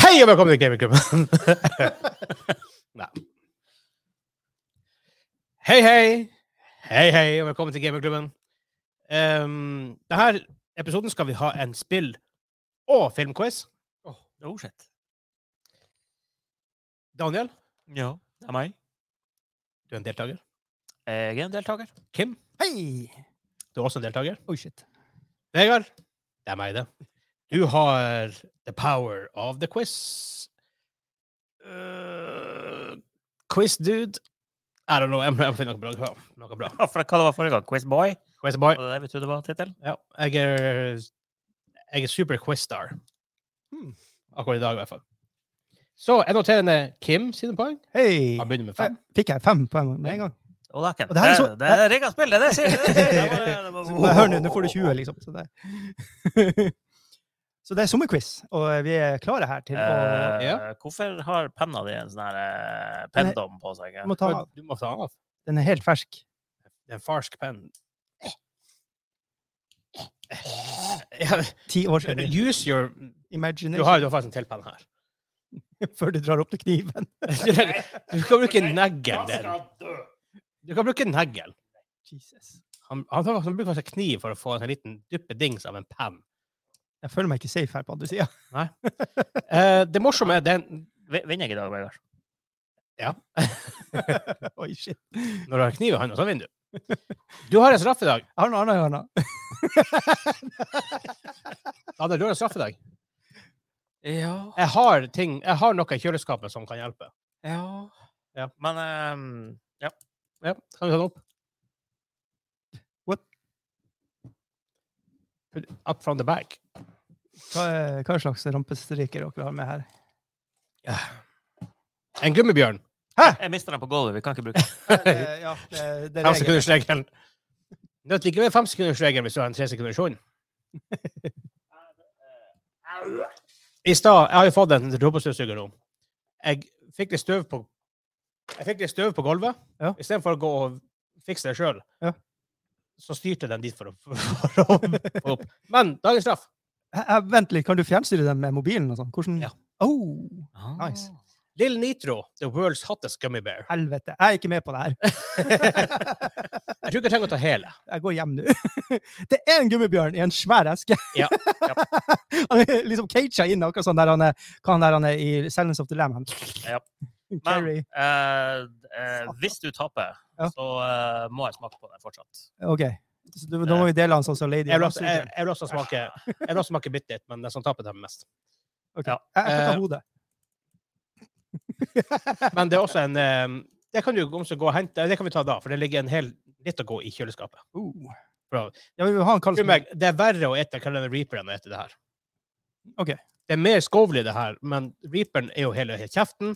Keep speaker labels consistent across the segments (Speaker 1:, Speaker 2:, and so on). Speaker 1: Hei og velkommen til Gamingklubben! Nei. Hei, hei! Hei, hei, og velkommen til Gamingklubben. Um, denne episoden skal vi ha en spill- og filmquiz.
Speaker 2: Oh shit.
Speaker 1: Daniel,
Speaker 2: Ja, det er meg.
Speaker 1: du er en deltaker.
Speaker 2: Eh, Jeg er en deltaker.
Speaker 1: Kim,
Speaker 2: Hei!
Speaker 1: du er også en deltaker.
Speaker 2: Oi, shit.
Speaker 1: Vegard, det er meg, det. Du har the power of the quiz. Uh, quiz dude. I don't know, jeg må jeg må finne noe bra. Noe bra.
Speaker 2: Ja, for hva det var forrige gang? Quizboy?
Speaker 1: Quiz boy.
Speaker 2: Var det det vi trodde var tittelen?
Speaker 1: Ja, jeg er, jeg er super quiz-star.
Speaker 2: Hmm.
Speaker 1: Akkurat i dag, i hvert fall. Så jeg noterer ned Kim sine poeng.
Speaker 3: Hei!
Speaker 1: Han begynner med fem.
Speaker 3: Fikk jeg fem poeng med en gang?
Speaker 2: Og det er ikke
Speaker 3: Og det her er så-
Speaker 2: Det er rigga spill, det er det jeg sier! Det er det jeg sier. Det var- det
Speaker 3: Men
Speaker 2: var-
Speaker 3: Hør nå, nå får du 20, liksom. Så det, så det er sommerquiz, og vi er klare her til å
Speaker 2: Eh,
Speaker 1: Ja.
Speaker 2: Hvorfor har penna di en sånn her eh, penndom på seg?
Speaker 3: du må ta av.
Speaker 1: Du må ta den av.
Speaker 3: Den er helt fersk.
Speaker 1: Det er en farsk penn. Ja,
Speaker 3: Ti år siden.
Speaker 1: Use your Du Eh, har
Speaker 3: Imagination
Speaker 1: jo faktisk en til penn her.
Speaker 3: før du drar opp til kniven.
Speaker 1: Du kan bruke neglen din. Du kan bruke neglen.
Speaker 3: Jesus.
Speaker 1: Han, han, tar- han bruker faktisk kniv for å få en sånn liten duppedings av en penn.
Speaker 3: Jeg føler meg ikke safe her på andre sida.
Speaker 1: Eh, det morsomme er den
Speaker 2: Vi- Vinner jeg i dag, Vegard?
Speaker 3: Oi, shit.
Speaker 1: Når du har kniv i hånda, så vinner du. Du har en straff i dag.
Speaker 3: Jeg har noe annet i hånda.
Speaker 1: Anne, du har en straff i dag.
Speaker 2: Ja.
Speaker 1: Jeg har, ting, jeg har noe i kjøleskapet som kan hjelpe.
Speaker 2: ja.
Speaker 1: Ja.
Speaker 2: Men ehm,
Speaker 1: Ja, kan vi ta den opp?
Speaker 3: What?
Speaker 1: Put it Up from the bag.
Speaker 3: Hva, er- hva slags rampestreker dere har med her?
Speaker 1: En gummibjørn.
Speaker 2: jeg mister den på gulvet. Vi kan ikke bruke den.
Speaker 3: Eh, ja, det, det er regel.
Speaker 1: Femsekundersregelen. Nødt ikke med femsekundersregelen hvis du har en tresekundershund. I stad Jeg har jo fått en robotstøvsuger nå. Jeg fikk litt støv på jeg fikk litt støv på gulvet.
Speaker 3: Ja.
Speaker 1: Istedenfor å gå og fikse det sjøl,
Speaker 3: Ja.
Speaker 1: så styrte den dit for å, for å få opp. Men dagens straff.
Speaker 3: Eh, eh, Vent litt, kan du fjernstyre den med mobilen og sånn? Hvordan
Speaker 1: Ja.
Speaker 3: Oh,
Speaker 2: Ah.
Speaker 3: Nice.
Speaker 1: Lill Nitro, the world's hottest gummy bear.
Speaker 3: helvete. Jeg er ikke med på det her.
Speaker 1: Jeg tror ikke jeg trenger å ta hele.
Speaker 3: jeg går hjem nå. Det er en gummibjørn i en svær eske.
Speaker 1: Ja,
Speaker 2: ja.
Speaker 3: han er liksom caged inn, akkurat sånn der han er, hva han der han er i Silence of the Lamb.
Speaker 2: Ja. Men
Speaker 3: Carrie.
Speaker 2: eh, eh, hvis du taper,
Speaker 3: Ja.
Speaker 2: så eh, må jeg smake på den fortsatt.
Speaker 3: OK. Så du, da må vi dele han sånn som Lady.
Speaker 1: Jeg vil
Speaker 3: og
Speaker 1: også, eh, jeg, jeg vil også smake, jeg vil også smake bitte litt, men den som taper, tar mest.
Speaker 3: Ok.
Speaker 2: ja.
Speaker 3: Jeg, jeg får
Speaker 1: Eh,
Speaker 3: ta hodet.
Speaker 1: Men det er også en eh, Det kan du også gå og hente. Det kan vi ta da, for det ligger en hel litt å gå i kjøleskapet.
Speaker 3: Oh.
Speaker 1: Bra.
Speaker 3: Ja, vi vil ha en kald
Speaker 1: Tro meg, det er verre å ete Carolina Reaper enn å ete det her.
Speaker 3: Ok.
Speaker 1: Det er mer skovlig, det her, men Reaperen er jo hele, hele kjeften,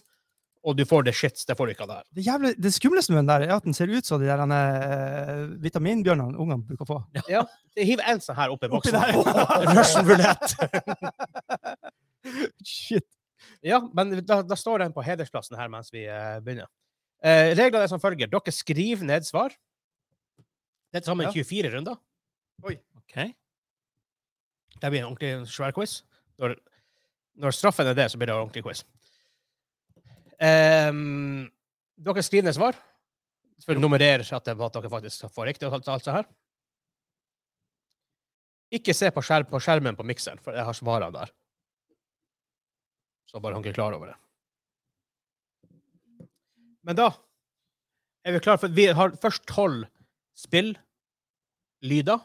Speaker 1: og du får det shits. Det får du ikke av det her.
Speaker 3: Det, jævlig, det skumleste med den der er at den ser ut som de der eh, vitaminbjørnene ungene bruker å få.
Speaker 1: Hiv en sånn her oppi
Speaker 3: Oppi
Speaker 1: boksen.
Speaker 3: der.
Speaker 1: Russian roulette.
Speaker 3: Shit.
Speaker 1: Ja, men da, da står den på hedersplassen her mens vi eh, begynner. Eh, reglene er som følger. Dere skriver ned svar. Det er til sammen
Speaker 3: Ja.
Speaker 1: 24 runder.
Speaker 2: OK.
Speaker 1: Det blir en ordentlig svær quiz. Når, når straffen er det, så blir det en ordentlig quiz. Ehm, dere skriver ned svar. For å nummerere at, det, at dere faktisk får riktig. og alt, alt det her. Ikke se på, skjerm, på skjermen på mikseren, for jeg har svarene der. Så bare han ikke er klar over det. Men da er vi klare, for vi har først tolv spill, lyder,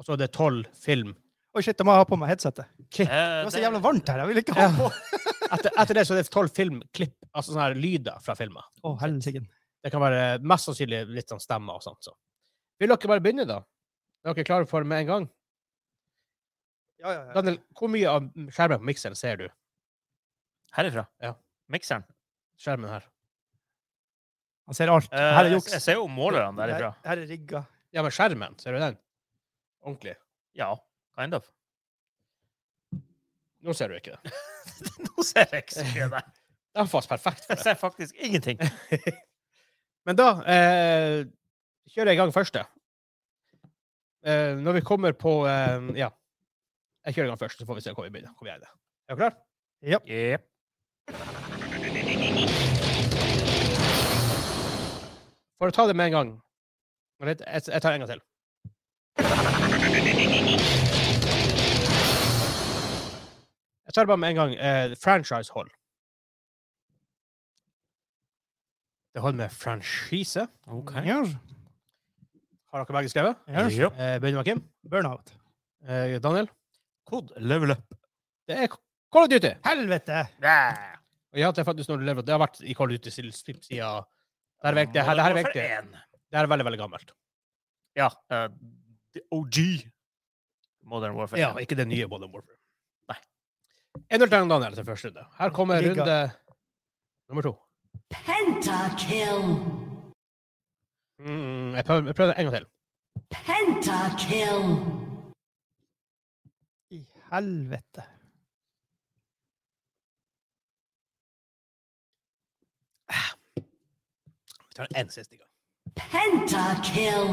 Speaker 1: og så er det tolv film.
Speaker 3: Oi, shit, da må jeg ha på meg headsetet.
Speaker 2: Eh,
Speaker 3: Det var så
Speaker 2: det-
Speaker 3: jævla varmt her. Jeg vil ikke ha
Speaker 1: Ja.
Speaker 3: på.
Speaker 1: Etter, etter det så er det tolv filmklipp, altså sånne her lyder fra filmer.
Speaker 3: Å, helsike.
Speaker 1: Det kan være mest sannsynlig litt sånn stemmer og sånt. Så. Vil dere bare begynne, da? Er dere klare for det med en gang?
Speaker 3: Ja, ja, ja.
Speaker 1: Daniel, hvor mye av skjermen på mikseren ser du?
Speaker 2: Herifra?
Speaker 1: Ja.
Speaker 2: Mikseren?
Speaker 1: Skjermen her.
Speaker 3: Han ser alt.
Speaker 2: Eh,
Speaker 3: Her er
Speaker 2: jeg-
Speaker 3: juks.
Speaker 2: Jeg ser jo målerne derifra.
Speaker 3: Her, her er rigga.
Speaker 1: Ja, men skjermen, ser du den? Ordentlig.
Speaker 2: Ja, kind of.
Speaker 1: Nå ser du ikke det.
Speaker 2: Nå ser jeg ikke så mye der.
Speaker 1: Den var perfekt
Speaker 2: Jeg
Speaker 1: for det.
Speaker 2: ser faktisk ingenting.
Speaker 1: Men da eh, kjører jeg i gang første. Eh, når vi kommer på eh, Ja. Jeg kjører i gang først, så får vi se hvor vi begynner. Hvor vi er, det. er du klar?
Speaker 3: Japp.
Speaker 2: Jep.
Speaker 1: For å ta det med en gang Men Jeg, jeg, jeg tar en gang til. Jeg tar det bare med en gang. Eh, Franchise-hold. Det holder med franchise.
Speaker 2: OK.
Speaker 3: Ja,
Speaker 1: Har dere begge skrevet?
Speaker 3: ja.
Speaker 2: Jep.
Speaker 1: Eh, begynner med Kim.
Speaker 3: Burnout.
Speaker 1: Eh, Daniel.
Speaker 2: Kod level up.
Speaker 1: Det er Call of Duty.
Speaker 3: Helvete!
Speaker 2: Ja.
Speaker 1: Og ja, det, er faktisk når du lever, det har vært i Call of Duty siden siden- siden- Det her er viktig. Det her, det her er viktig. Det her er veldig, veldig gammelt.
Speaker 2: Ja. eh, the OG. Modern Warfare.
Speaker 1: Ja, ikke det nye Modern Warfare. Nei. 1-0 til Daniel til første runde. Her kommer
Speaker 3: Giga.
Speaker 1: runde nummer to.
Speaker 4: Pentakill.
Speaker 1: Mm, jeg, prøver, jeg prøver en gang til.
Speaker 4: Pentakill.
Speaker 3: I helvete.
Speaker 1: Vi tar en siste gang.
Speaker 4: Pentakill.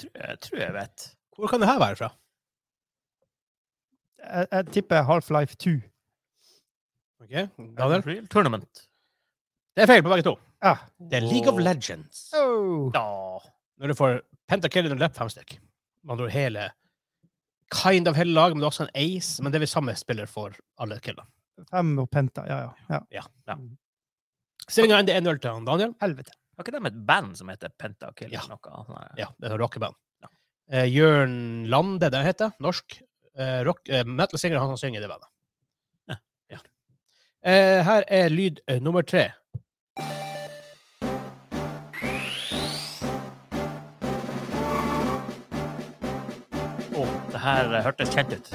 Speaker 2: Tror jeg, tror jeg vet.
Speaker 1: Hvor kan det her være fra?
Speaker 3: Jeg, jeg tipper Half-Life 2.
Speaker 1: Ok, Daniel?
Speaker 2: Unreal Tournament.
Speaker 1: Det er feil på begge to.
Speaker 3: Ja.
Speaker 1: Det er League of Legends.
Speaker 3: Oh.
Speaker 2: Ja.
Speaker 1: Når du får pentakill under left femstikk. Man tror hele Kind of hele laget, men det er også en ace. Men det er vel samme spiller for alle killene.
Speaker 3: Fem og Penta. Ja, ja. ja.
Speaker 1: Stillinga er 1-0 til han, Daniel.
Speaker 3: Helvete.
Speaker 2: Har ikke de et band som heter Pentakill?
Speaker 1: Ja.
Speaker 2: eller Noe? Sånn Nei.
Speaker 1: Ja, det er et rockeband.
Speaker 2: Ja.
Speaker 1: Eh, Jørn Lande, det heter. Norsk. Eh, rock, eh, metal singer, han som synger i det bandet.
Speaker 2: Ja.
Speaker 1: Ja. Eh, her er lyd eh, nummer tre.
Speaker 2: Å, det her eh, hørtes kjent ut.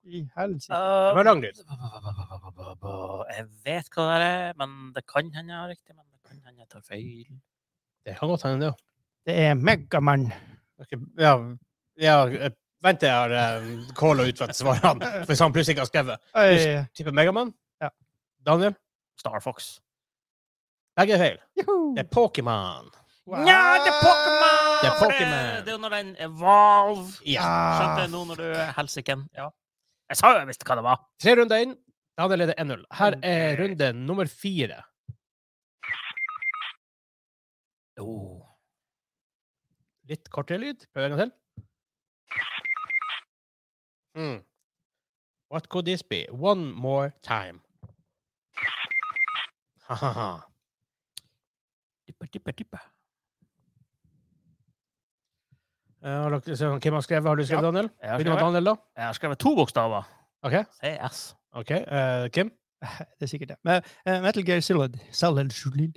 Speaker 3: I helsike.
Speaker 1: Det var
Speaker 2: Uh,
Speaker 1: lang lyd.
Speaker 2: Eh, jeg vet hva det er, men det kan hende jeg har riktig. Men det kan hende jeg tar feil.
Speaker 1: Det kan godt hende, det òg.
Speaker 3: Det er Megamann.
Speaker 1: Ja, ja, eh, vent til jeg har eh, calla ut for at svarene, hvis han plutselig ikke har skrevet.
Speaker 3: Øy,
Speaker 1: Tipper Megamann.
Speaker 3: Ja.
Speaker 1: Daniel?
Speaker 2: Star Fox.
Speaker 1: Begge er feil.
Speaker 3: Juhu!
Speaker 1: Det er Pokémon.
Speaker 3: Wow.
Speaker 2: Nja, det er Pokémon!
Speaker 1: Det er
Speaker 2: For
Speaker 1: Pokémon.
Speaker 2: Det er jo når den evolve.
Speaker 1: Ja.
Speaker 2: Skjønte jeg nå når du er helsiken. Ah. Ja. Jeg sa jo jeg visste hva det var.
Speaker 1: Tre runder inn. Daniel leder 1-0. Her er runde nummer fire.
Speaker 2: Oh.
Speaker 1: Litt kortere lyd. Prøv en gang til. Mm. What could this be? One more time. Ha-ha-ha.
Speaker 2: Tippa, tippa, tippa.
Speaker 1: Eh, Har dere se hvem har skrevet? Har du skrevet,
Speaker 2: Ja.
Speaker 1: Daniel?
Speaker 2: Jeg har
Speaker 1: Begynner med
Speaker 2: skrevet,
Speaker 1: Daniel, da.
Speaker 2: jeg har skrevet to bokstaver.
Speaker 1: OK.
Speaker 2: CS.
Speaker 1: ok. eh, Kim?
Speaker 3: Det er sikkert det. Men eh, Metal Gear Solid Solid Solid.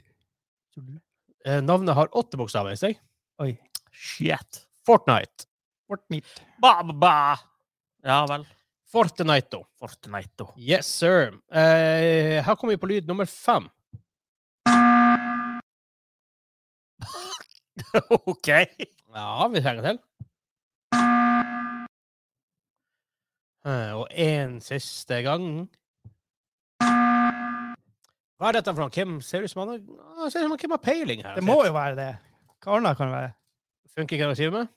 Speaker 3: Solid.
Speaker 1: Eh, navnet har åtte bokstaver i seg.
Speaker 3: Oi.
Speaker 2: Shit.
Speaker 1: Fortnite.
Speaker 3: Fortnite.
Speaker 2: Ba, ba, ba. Ja vel.
Speaker 1: Fortnite.
Speaker 2: Fortnite. da.
Speaker 1: Yes, sir. Eh, her kommer vi på lyd nummer fem.
Speaker 2: OK.
Speaker 1: Ja, vi trenger til. Eh, Og en siste gang. Hva er dette for noe? Hvem ser ut som han har, Ah, ser ut som hvem har peiling her?
Speaker 3: Det må jo være det. Hva annet kan det være?
Speaker 1: Funker ikke det å skrive med?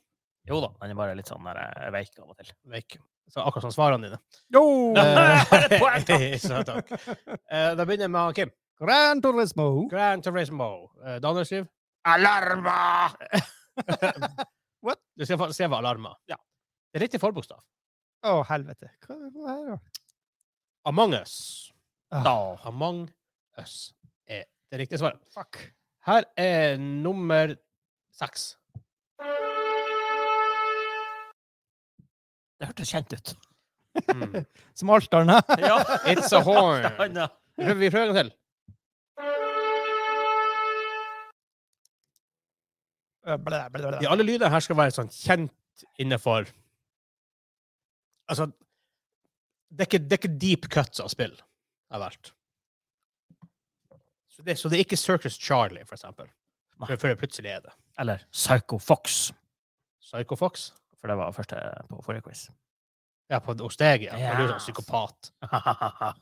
Speaker 2: Jo da, den er bare litt sånn der eh, veik av og til.
Speaker 1: Veik. Så akkurat som svarene dine.
Speaker 2: Eh, poeng,
Speaker 1: Eh, så takk. Eh, Da begynner jeg med Kim.
Speaker 3: Grand Turismo.
Speaker 1: Grand Turismo. Eh, Daniel skriver.
Speaker 2: Alarma!
Speaker 1: Du skal få se hva alarma. Ja. Det er riktig forbokstav.
Speaker 3: Å, helvete. Hva er det her, da?
Speaker 1: Among us.
Speaker 2: Da.
Speaker 1: Among us er det riktige svaret.
Speaker 3: Fuck.
Speaker 1: Her er nummer seks.
Speaker 2: Det hørtes kjent ut.
Speaker 1: Mm.
Speaker 3: Smaltdalen.
Speaker 2: Ja.
Speaker 1: It's a horn.
Speaker 2: Han, ja.
Speaker 1: Vi prøver, vi prøver en gang til.
Speaker 3: Blæ, blæ, blæ, blæ.
Speaker 1: De alle lydene her skal være sånn kjent innenfor Altså Det er ikke, det er ikke deep cuts av spill av hvert. Så det, så det er ikke Circus Charlie, for eksempel.
Speaker 2: Nei.
Speaker 1: Før- Før det plutselig er det.
Speaker 2: Eller Psycho Fox.
Speaker 1: Psycho Fox?
Speaker 2: For det var første på forrige quiz.
Speaker 1: Ja, på, hos deg, ja.
Speaker 2: Ja.
Speaker 1: For Du er sånn psykopat. Ja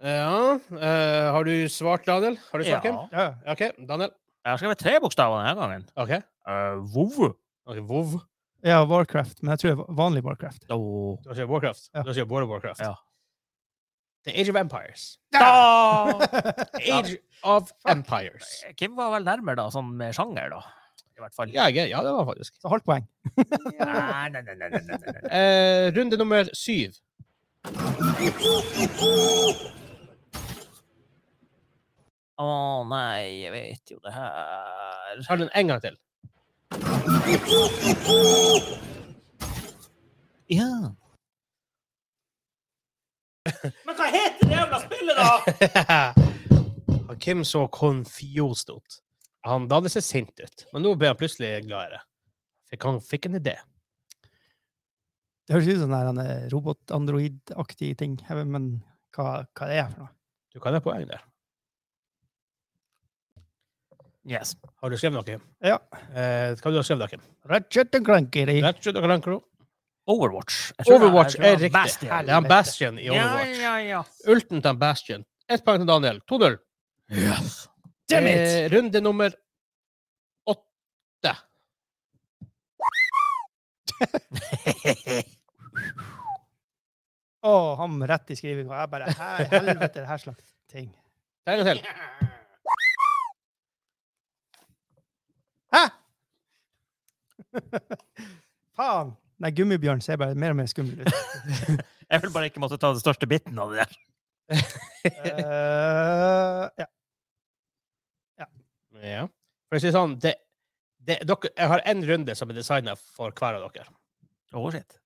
Speaker 1: Eh, har du svart, Daniel? Har du svart, Kim?
Speaker 2: Ja.
Speaker 3: Ja, ja.
Speaker 1: OK, Daniel.
Speaker 2: Jeg har skrevet tre bokstaver denne gangen.
Speaker 1: OK.
Speaker 2: Uh, Vov.
Speaker 1: Ok, Vov.
Speaker 3: ja, Warcraft, men jeg tror det er vanlig Warcraft.
Speaker 2: Oh.
Speaker 1: Du har skrevet Warcraft.
Speaker 3: Ja.
Speaker 1: Du har skrevet World of Warcraft.
Speaker 2: Ja.
Speaker 1: The Age of Empires.
Speaker 2: Da!
Speaker 1: Age of Empires.
Speaker 2: Kim var vel nærmere, da, sånn med sjanger, da. I hvert fall.
Speaker 1: Ja, jeg- ja, det var faktisk.
Speaker 3: Så halvt poeng.
Speaker 2: Nei, nei, nei, nei, nei, nei, nei, nei.
Speaker 1: Eh, runde nummer syv.
Speaker 2: Å nei, jeg vet jo det her
Speaker 1: Tar den en gang til.
Speaker 2: Ja. Men hva heter det jævla spillet, da?!
Speaker 1: Han Kim så confused ut. Han Daniel ser sint ut, men nå ble han plutselig gladere. Fikk han fikk en idé.
Speaker 3: Det høres ut som en eh, robot-android-aktig ting, jeg vet- men hva, hva det er for noe?
Speaker 1: Du kan ha poeng der.
Speaker 2: Yes.
Speaker 1: Har du skrevet noe?
Speaker 3: Ja.
Speaker 1: Eh, hva du har skrevet, da, Kim?
Speaker 3: Ratchet and Clankery.
Speaker 1: Ratchet og Clank Row?
Speaker 2: Overwatch. Jeg tror det
Speaker 1: Overwatch
Speaker 2: jeg tror
Speaker 1: er
Speaker 2: det
Speaker 1: riktig.
Speaker 2: Bastion.
Speaker 1: Herlig, han Bastion i Overwatch.
Speaker 2: Ja, ja,
Speaker 1: Ulten til Bastion. Ett poeng til Daniel. 2-0.
Speaker 2: ja.
Speaker 3: Damn it!
Speaker 1: Eh, runde nummer åtte.
Speaker 3: Å, ham rett i skrivinga. Jeg bare her, Helvete, det her slags ting.
Speaker 1: Ta en gang til.
Speaker 3: Hæ?! Faen! Nei, gummibjørn ser bare mer og mer skummel ut.
Speaker 2: Jeg vil bare ikke måtte ta den største biten av det der.
Speaker 3: Eh, ja.
Speaker 1: Ja. For å si det sånn, det, det, dere, jeg har én runde som er designa for hver av dere.
Speaker 2: Oh, shit.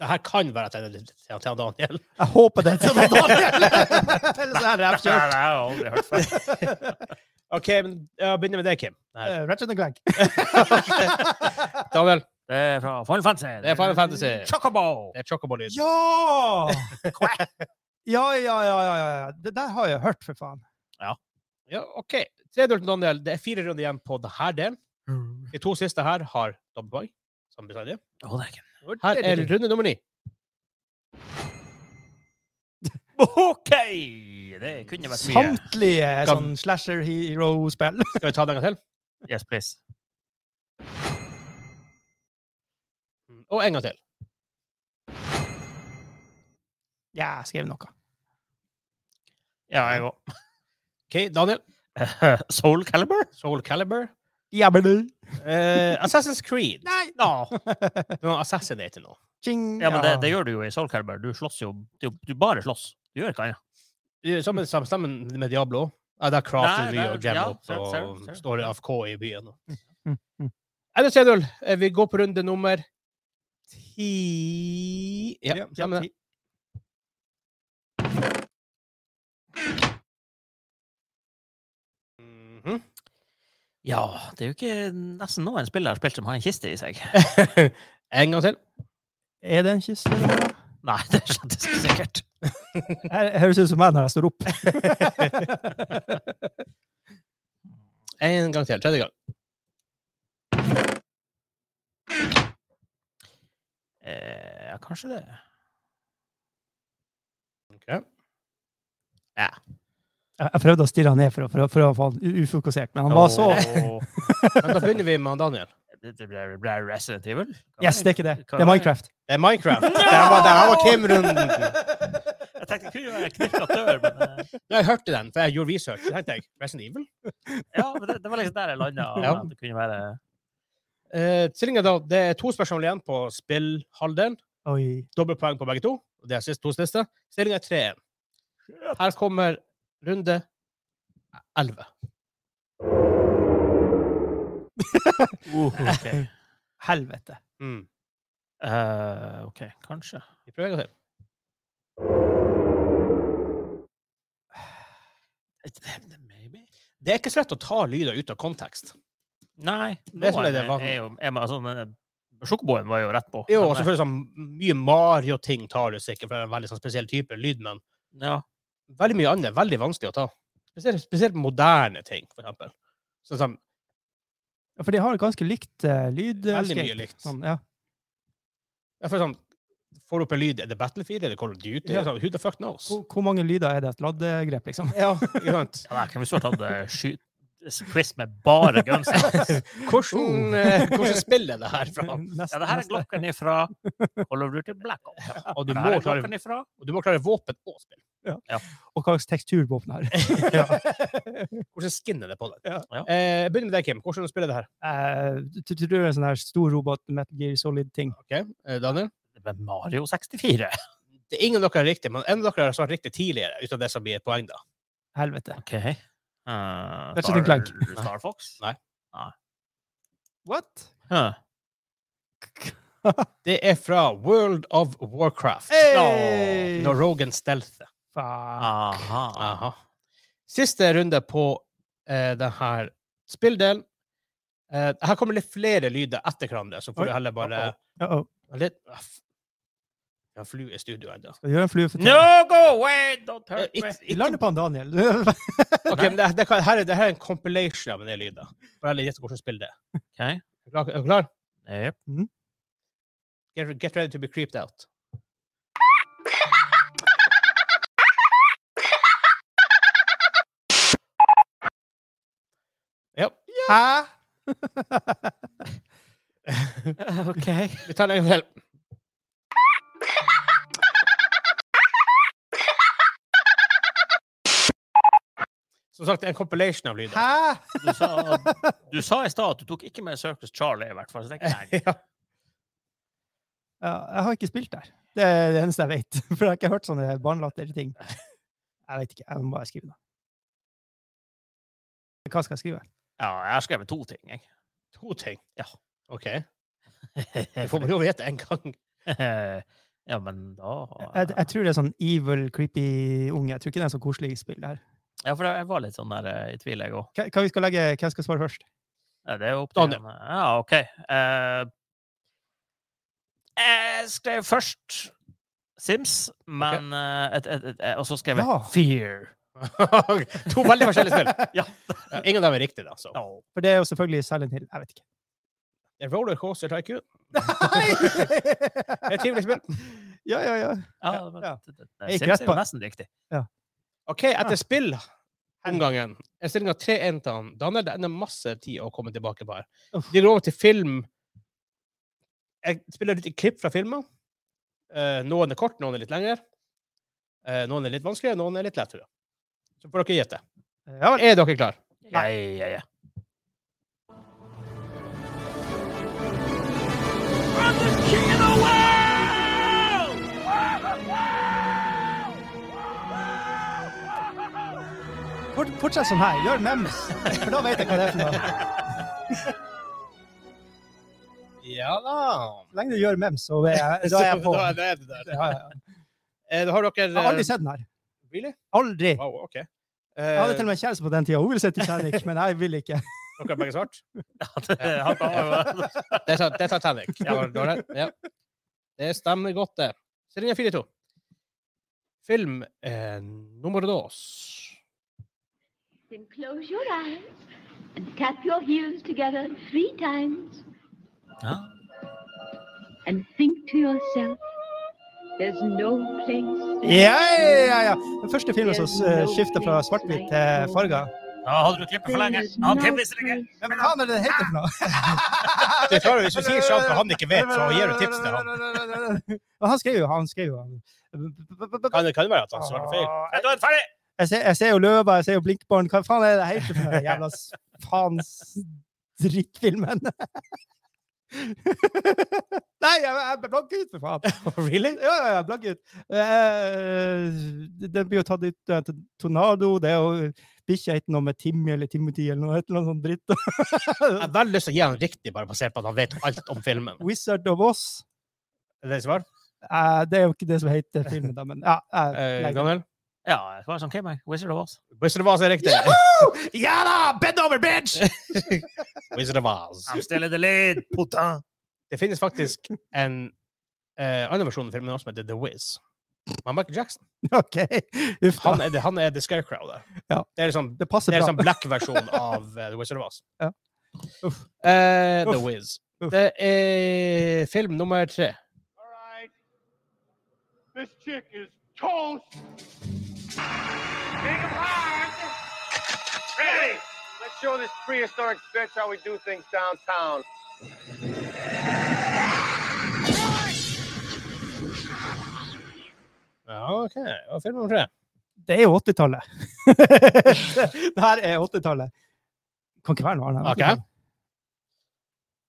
Speaker 1: Det her kan være til, til, til Daniel.
Speaker 3: Jeg håper det er til Daniel! Ellers er det
Speaker 2: Det har
Speaker 3: absolutt.
Speaker 2: jeg aldri hørt før.
Speaker 1: OK, men jeg begynner med deg, Kim. Nei.
Speaker 3: Eh, Ratchet and Clank.
Speaker 1: Daniel,
Speaker 2: Det er fra Final Fantasy.
Speaker 1: Det er Final Fantasy.
Speaker 2: Chocobo.
Speaker 1: det er chocobo-lyd.
Speaker 3: Ja! Ja, ja, ja, ja, ja. Det der har jeg hørt, for faen.
Speaker 1: Ja, OK. 3-0 til Daniel. Det er fire runder igjen på denne delen. De to siste her har dobbeltpoeng. som bestandig.
Speaker 2: Å, det er ikke
Speaker 1: Her er runde nummer ni.
Speaker 2: OK! Det kunne vært mye.
Speaker 3: Samtlige
Speaker 1: Kan-
Speaker 3: sånn slasher hero-spill.
Speaker 1: Skal vi ta den en gang til?
Speaker 2: Yes, please.
Speaker 1: Og en gang til.
Speaker 3: Ja, jeg skrev noe.
Speaker 2: Ja, jeg òg.
Speaker 1: OK, Daniel.
Speaker 2: Soul Caliber?
Speaker 1: Soul Caliber.
Speaker 3: Ja, men du.
Speaker 1: Assassin's Creed.
Speaker 3: Nei!
Speaker 1: Du må assassinate nå.
Speaker 3: Ching,
Speaker 2: Ja, men det, det gjør du jo i Soul Caliber. Du slåss jo Du, du bare slåss. Du gjør ikke annet.
Speaker 1: Sammen, sammen, sammen med Diablo. Ja, der crafter
Speaker 2: Nei,
Speaker 1: du
Speaker 2: der-
Speaker 1: mye og jammer
Speaker 2: ja,
Speaker 1: opp
Speaker 2: ser- ser-
Speaker 1: og
Speaker 2: ser-
Speaker 1: står i AFK i byen.
Speaker 3: Mm, mm.
Speaker 1: Eller 3-0. Eh, Vi går på runde nummer ti Ja, stemmer det. Mhm.
Speaker 2: Ja, det er jo ikke nesten noen spill jeg har spilt som har en kiste i seg.
Speaker 1: En gang til.
Speaker 3: Er det en kyss?
Speaker 2: Nei, det er slett ikke sikkert.
Speaker 3: Her høres ut som meg når jeg står opp.
Speaker 1: En gang til. Tredje gang.
Speaker 2: Eh, ja, kanskje det.
Speaker 1: Ok.
Speaker 3: Jeg jeg prøvde å stirre han ned for å, for å, for å få han u- ufokusert, men han var så
Speaker 2: Åh.
Speaker 1: Men da begynner vi med han Daniel.
Speaker 2: Det det ble, det ble Resident Evil? Hva
Speaker 3: Yes, det er ikke det. Det er Minecraft.
Speaker 1: Det er Minecraft. Der var, der var Kim-runden.
Speaker 2: Jeg tenkte det kunne være knirka dør, men eh,
Speaker 1: Jeg hørte den, for jeg gjorde research. Så tenkte jeg, Resident Evil?
Speaker 2: Ja, men det, det var liksom der jeg landa.
Speaker 1: Ja.
Speaker 2: At det kunne være
Speaker 1: Eh, stillingen da, det er to spørsmål igjen på spillhalvdelen.
Speaker 3: Oi.
Speaker 1: Dobbeltpoeng på begge to. og Det er sist to siste. Stillingen er 3-1. Her kommer runde 11.
Speaker 2: Eh, OK.
Speaker 3: Helvete.
Speaker 1: Mm.
Speaker 2: Eh, OK, kanskje.
Speaker 1: Vi prøver en gang til.
Speaker 2: Maybe.
Speaker 1: Det er ikke så lett å ta lyder ut av kontekst.
Speaker 2: Nei.
Speaker 1: Det som er
Speaker 2: noen
Speaker 1: det var-
Speaker 2: er jo, er man, altså, men, Sjokoboen var jo rett på.
Speaker 1: Jo, og
Speaker 2: men, eh,
Speaker 1: selvfølgelig sånn mye Mario-ting tar du sikkert, for det er en veldig sånn spesiell type lyd, men
Speaker 2: Ja.
Speaker 1: veldig mye annet er veldig vanskelig å ta. Spesielt, spesielt moderne ting, for eksempel. Sånn som
Speaker 3: Ja, For de har ganske likt uh, lyd. eh,
Speaker 1: Veldig mye
Speaker 3: scape.
Speaker 1: likt.
Speaker 3: Sånn, ja.
Speaker 1: Ja, for sånn, får opp en lyd. Er det Battlefield? Er det Call of Duty?
Speaker 3: Ja.
Speaker 1: Altså, who the fuck knows?
Speaker 3: Hvor, hvor mange lyder er det et laddegrep, liksom?
Speaker 1: Ja, ikke sant?
Speaker 2: Ja, jeg kunne svart at det skyt eh, quiz med bare guns. Ja,
Speaker 1: Hvordan, eh, hvordan spiller det her fra?
Speaker 3: Neste-
Speaker 2: det her er
Speaker 3: neste.
Speaker 2: Glocken ifra Call of Duty Black Ops.
Speaker 1: Og du
Speaker 2: Det
Speaker 1: må
Speaker 2: her er
Speaker 1: klare,
Speaker 2: Glocken ifra
Speaker 1: og du må klare våpen og spill.
Speaker 3: Og hva slags tekstur på åpnet her.
Speaker 1: Hvordan skinner det på det?
Speaker 3: Ja.
Speaker 2: Ja.
Speaker 1: Eh, jeg begynner med deg, Kim. Hvordan spiller det her?
Speaker 3: Eh, Du tror det er en sånn her stor robot, Metal Gear Solid-ting.
Speaker 1: Ok, eh, Daniel?
Speaker 2: Det var Mario 64.
Speaker 1: Det er ingen av dere er riktig, men en av dere har svart riktig tidligere, uten det som blir et poeng, da.
Speaker 3: Helvete.
Speaker 2: OK. Uh,
Speaker 3: Ratchet and Clank.
Speaker 2: Star Fox?
Speaker 1: Nei.
Speaker 3: What?
Speaker 2: Huh.
Speaker 1: Det er fra World of Warcraft.
Speaker 3: Hey!
Speaker 1: Når Rogan stealther.
Speaker 3: Faen.
Speaker 2: Aha.
Speaker 1: Aha. Siste runde på eh, det her spilldelen. Eh, her kommer litt flere lyder etter hverandre, så
Speaker 3: Oi.
Speaker 1: får du heller bare
Speaker 3: Uh-oh.
Speaker 1: litt, ah, f- Jeg har flue i studio ennå.
Speaker 3: Skal du gjøre en flue for
Speaker 2: No, go away! Don't hurt me!
Speaker 1: Ikke- ikke-
Speaker 3: Lande på han, Daniel.
Speaker 1: Ok, men det, det, kan, her, er, det her er en compilation av en del lyder. Bare litt gjette hvordan spill det er.
Speaker 2: Ok.
Speaker 1: Er du klar? Er du klar?
Speaker 2: Yep.
Speaker 1: Get, get ready to be creeped out. Ja.
Speaker 3: Hæ?
Speaker 2: OK.
Speaker 1: Vi tar den en gang til. Som sagt, en compilation av lyder.
Speaker 3: Hæ?
Speaker 2: Du sa, du sa i stad at du tok ikke med Circus Charlie, i hvert fall. Så det er ikke
Speaker 1: Ja.
Speaker 3: Ja, jeg har ikke spilt der. Det er det eneste jeg vet. For jeg har ikke hørt sånne barnelatterting. Jeg vet ikke. Jeg må bare skrive det. Hva skal jeg skrive?
Speaker 2: Ja, jeg har skrevet to ting, jeg.
Speaker 1: To ting.
Speaker 2: Ja.
Speaker 1: OK. Vi får bare lov å gjette en gang.
Speaker 2: ja, men da
Speaker 3: Jeg, jeg tror det er sånn evil, creepy unge. Jeg tror ikke det er så koselig spill det her.
Speaker 2: Ja, for jeg var litt sånn der eh, i tvil, jeg òg.
Speaker 3: Hva, hva vi skal legge, hvem skal svare først?
Speaker 2: Det er jo opp til
Speaker 1: Daniel.
Speaker 2: han, eh, Ja, OK. Eh, jeg skrev først Sims, men eh, et, et, et, Og så skrev jeg
Speaker 3: Ja.
Speaker 2: Fear.
Speaker 1: to veldig forskjellige spill.
Speaker 2: Ja.
Speaker 1: Ja, Ingen av dem er riktig, da. Så.
Speaker 2: Oh.
Speaker 3: For det er jo selvfølgelig Silent Hill. Jeg vet ikke.
Speaker 1: Det er Rollercoaster Tycoon.
Speaker 3: Nei!
Speaker 1: Det er et trivelig spill.
Speaker 3: ja, ja, ja.
Speaker 2: Ja,
Speaker 3: Ja,
Speaker 2: men
Speaker 3: ja.
Speaker 2: det- det-
Speaker 3: Jeg gikk
Speaker 2: Sims er
Speaker 3: rett
Speaker 2: jo
Speaker 3: på-
Speaker 2: nesten riktig.
Speaker 1: OK, etter spill omgangen er stillinga 3-1 til han. Daniel, det ender masse tid å komme tilbake på her.
Speaker 3: Uff.
Speaker 1: De lover til film Jeg spiller litt i klipp fra filmer. Eh, noen er kort, noen er litt lengre. Eh, noen er litt vanskeligere, noen er litt lettere. Så får dere gjette.
Speaker 3: Ja vel.
Speaker 1: Er dere klare?
Speaker 2: Ja, ja, ja.
Speaker 3: Fort, fortsett sånn her. Gjør memes. For da vet jeg hva det er for noe.
Speaker 1: Ja da.
Speaker 3: Så lenge du gjør memes, så er jeg, da er jeg på.
Speaker 1: Da
Speaker 3: Ja,
Speaker 1: er det det der.
Speaker 3: ja. ja.
Speaker 1: Eh, da har dere
Speaker 3: Jeg har aldri sett den her.
Speaker 1: Really?
Speaker 3: Aldri.
Speaker 1: Wow, OK. Eh,
Speaker 3: Jeg hadde til og med en kjæreste på den tida. Hun ville se Titanic, men jeg vil ikke.
Speaker 1: Dere har begge svart?
Speaker 2: det- han var jo-
Speaker 1: Det er, det er Titanic. Du har- du har rett. Ja. Det stemmer godt, det. Stillinga 4-2. Film eh, nummer dos.
Speaker 5: Then close your eyes and tap your heels together three times
Speaker 2: Ja.
Speaker 5: and think to yourself, there's no place.
Speaker 3: Ja, ja, ja, ja. Den første filmen som eh, skifter fra svart-hvitt til farger.
Speaker 2: Ja, hadde du klippet for lenge?
Speaker 5: There's
Speaker 2: Ja,
Speaker 5: no
Speaker 2: klippet for lenge.
Speaker 3: Hvem faen er det det heter for noe?
Speaker 1: Det er klart, Hvis du sier sånn at han ikke vet, så gir du tips til han.
Speaker 3: han. Og han skrev jo, han skrev jo.
Speaker 1: Kan det kan det være at han svarte feil?
Speaker 2: Ja, da er det ferdig!
Speaker 3: Ah, Jeg ser, jeg ser jo løva, jeg ser jo blinkbarn. Hva faen er det det heter for den jævla s- faens drittfilmen? Nei, jeg, jeg blanker ut, for faen.
Speaker 1: Oh,
Speaker 3: Really? Ja, ja, jeg blanker ut. Eh, den blir jo tatt ut eh, til Tornado. Det er jo bikkja het noe med Timmy eller Timothy eller noe, et eller annet sånt dritt.
Speaker 1: Jeg har veldig lyst til å gi han riktig, bare basert på at han vet alt om filmen.
Speaker 3: Wizard of Oz.
Speaker 1: Er det svar?
Speaker 3: Eh, det er jo ikke det som heter filmen, da, men ja. jeg
Speaker 1: Eh,
Speaker 3: legger den.
Speaker 1: Daniel?
Speaker 2: Ja, det var sånn Kim, jeg. Wizard of Oz.
Speaker 1: Wizard of Oz er riktig.
Speaker 3: Ja da! Bend over, bitch!
Speaker 1: Wizard of Oz.
Speaker 2: I'm still in the lead, putain!
Speaker 1: Det finnes faktisk en eh, annen versjon av filmen også, som heter The Wiz. Men Michael Jackson
Speaker 3: OK. Uff da.
Speaker 1: han er, det, han er The Scarecrow. Der.
Speaker 3: Ja.
Speaker 1: Det er liksom
Speaker 3: Det passer
Speaker 1: Det er
Speaker 3: bra.
Speaker 1: en sånn black-versjon av eh, The Wizard of Oz.
Speaker 3: Ja. Uff.
Speaker 1: Eh, The
Speaker 3: Uff.
Speaker 1: Wiz.
Speaker 3: Uff.
Speaker 1: Det er film nummer tre.
Speaker 6: This chick is toast. Make 'em hard. Ready. Let's show this prehistoric bitch how we do things downtown.
Speaker 1: Ja, OK. Og film nummer tre.
Speaker 3: Det er jo 80-tallet. det her er 80-tallet. Kan ikke være noe annet. enn
Speaker 1: Ok.
Speaker 3: 80-tallet.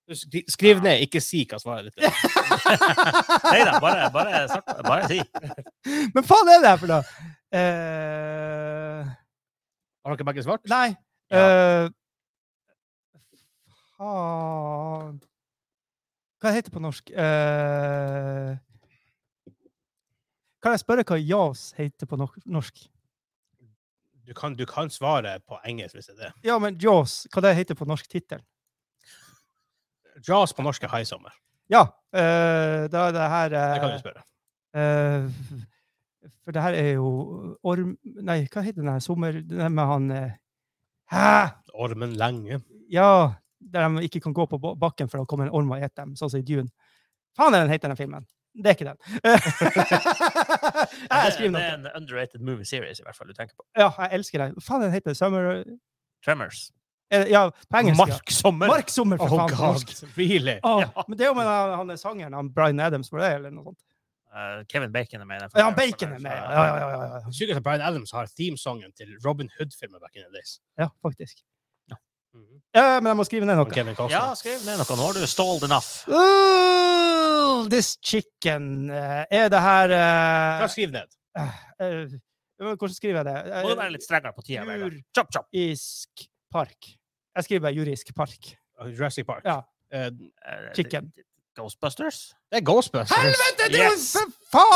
Speaker 1: Du skri- Skriv ned, ikke si hva svaret ditt er.
Speaker 2: Nei da, bare, bare, snakk- bare si.
Speaker 3: Men faen er det her for noe? Eh,
Speaker 1: Har dere begge svart?
Speaker 3: nei. Eh, faen Hva heter det på norsk? Eh, kan jeg spørre hva Jaws heter på nor- norsk?
Speaker 1: Du kan, du kan svare på engelsk hvis det er det.
Speaker 3: Ja, men Jaws, hva det heter på norsk tittel?
Speaker 1: Jaws på norsk er High Summer.
Speaker 3: Ja, eh, da er det her
Speaker 1: Det kan
Speaker 3: eh,
Speaker 1: du spørre.
Speaker 3: Eh, for det her er jo orm... Nei, hva heter den her sommer... Den her med han eh, Hæ?!
Speaker 1: Ormen Lange.
Speaker 3: Ja! Der de ikke kan gå på ba- bakken for å komme en orm og ete dem, sånn som i Dune. Faen er den heter den filmen! Det er ikke den. jeg skriver
Speaker 2: det
Speaker 3: noe.
Speaker 2: er en underrated movie series, i hvert fall, du tenker på.
Speaker 3: Ja, jeg elsker den. Faen, den heter Summer
Speaker 2: Tremors.
Speaker 3: eh, Ja, på engelsk. ja.
Speaker 1: Mark Sommer!
Speaker 3: Mark Sommer, for
Speaker 1: Oh
Speaker 3: faen! på
Speaker 1: god,
Speaker 3: norsk. Ah.
Speaker 1: really?
Speaker 3: Åh, Men det er jo med han, han er sangeren, han Bryan Adams, var det, eller noe sånt?
Speaker 2: Eh, Kevin Bacon er med. i den
Speaker 3: Ja, han
Speaker 2: filmen, i hvert
Speaker 3: Bacon
Speaker 2: fall,
Speaker 3: er
Speaker 2: så-
Speaker 3: med! Ja, ja, ja, ja, ja.
Speaker 1: Sykt at Bryan Adams har themesongen til Robin Hood-filmen back in the days.
Speaker 3: ja faktisk. Ja, men jeg må skrive ned noe.
Speaker 1: Og Kevin Costner.
Speaker 2: Ja, skriv ned noe. Nå har du stalled enough.
Speaker 3: Oh, this chicken eh, Er det her eh,
Speaker 1: Hva skriv ned?
Speaker 3: eh, men Hvordan skriver jeg det? Eh,
Speaker 2: Må du være litt strengere på tida. Vegard.
Speaker 3: Jur-
Speaker 2: Chop, chop.
Speaker 3: Isk park. Jeg skriver bare jurisk park.
Speaker 1: Jurassic Park.
Speaker 3: Ja.
Speaker 1: Eh,
Speaker 2: Eh,
Speaker 3: Chicken.
Speaker 2: Ghostbusters?
Speaker 1: det er Ghostbusters.
Speaker 3: Helvete! Det er jo
Speaker 2: Yes.
Speaker 3: for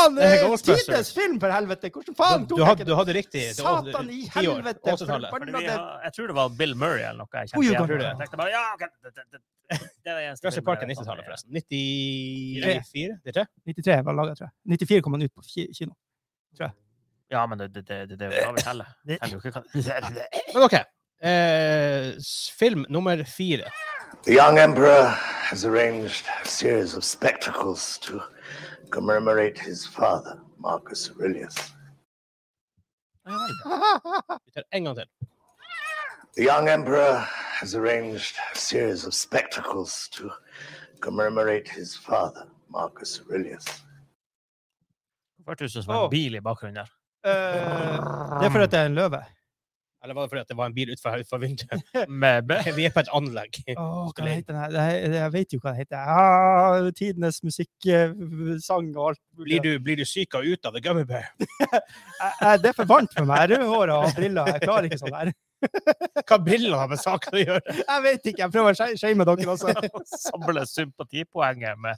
Speaker 3: faen
Speaker 1: Det er
Speaker 3: eh,
Speaker 1: Ghostbusters.
Speaker 3: tidenes film, for helvete! Hvordan faen
Speaker 1: Du, du,
Speaker 3: tok jeg
Speaker 1: hadde,
Speaker 3: ikke
Speaker 1: du
Speaker 3: det?
Speaker 1: hadde riktig. Det var-
Speaker 3: Satan i
Speaker 1: ti år,
Speaker 3: helvete,
Speaker 1: 80-tallet.
Speaker 3: forbann-
Speaker 2: Fordi
Speaker 3: Nå,
Speaker 2: vi
Speaker 3: det-
Speaker 2: har- Jeg tror det var Bill Murray eller noe. Jeg, kjente
Speaker 3: Oh, jo,
Speaker 2: igjen
Speaker 3: da.
Speaker 2: fra.
Speaker 1: Tror det.
Speaker 2: jeg tenkte bare, ja, ok, det, det, det, det er den
Speaker 1: Jurassic
Speaker 2: eneste filmen
Speaker 1: Park er
Speaker 2: jeg vet om
Speaker 1: 90-tallet,
Speaker 2: det.
Speaker 1: forresten. 94? Det er det?
Speaker 3: 93 var laget, tror jeg. 94 kom han ut på fi- kino.
Speaker 2: Ja, men det, det, det, det, det er jo hva vi teller.
Speaker 3: Det-
Speaker 2: Teller jo ikke hva-
Speaker 1: Men OK. Eh, s- film nummer fire.
Speaker 7: The young emperor has arranged a series of spectacles to commemorate his father, Marcus Aurelius.
Speaker 1: Vi tar en gang til.
Speaker 7: The young emperor has arranged a series of spectacles to commemorate his father, Marcus Aurelius.
Speaker 2: Det hørtes ut som en
Speaker 3: Å.
Speaker 2: bil i bakgrunnen der.
Speaker 3: Eh, det er fordi at det er en løve.
Speaker 1: Eller var det fordi at det var en bil utenfor utenfor vinduet?
Speaker 2: Med b-
Speaker 1: Vi er på et anlegg.
Speaker 3: Åh, hva
Speaker 1: Skulle inn.
Speaker 3: heter den her? Det her- Jeg vet jo hva den heter. Ah, tidenes musikk, eh, sang og alt. mulig.
Speaker 1: Blir du, blir du syk av ut av The Gummy Bear?
Speaker 3: Jeg- jeg- Det er for varmt for meg. Jeg er Rødhåra og har briller. Jeg klarer ikke sånn her.
Speaker 1: Hva brillene har med saken å gjøre?
Speaker 3: Jeg vet ikke. Jeg prøver å sh- shame dere også.
Speaker 2: samle sympatipoenget med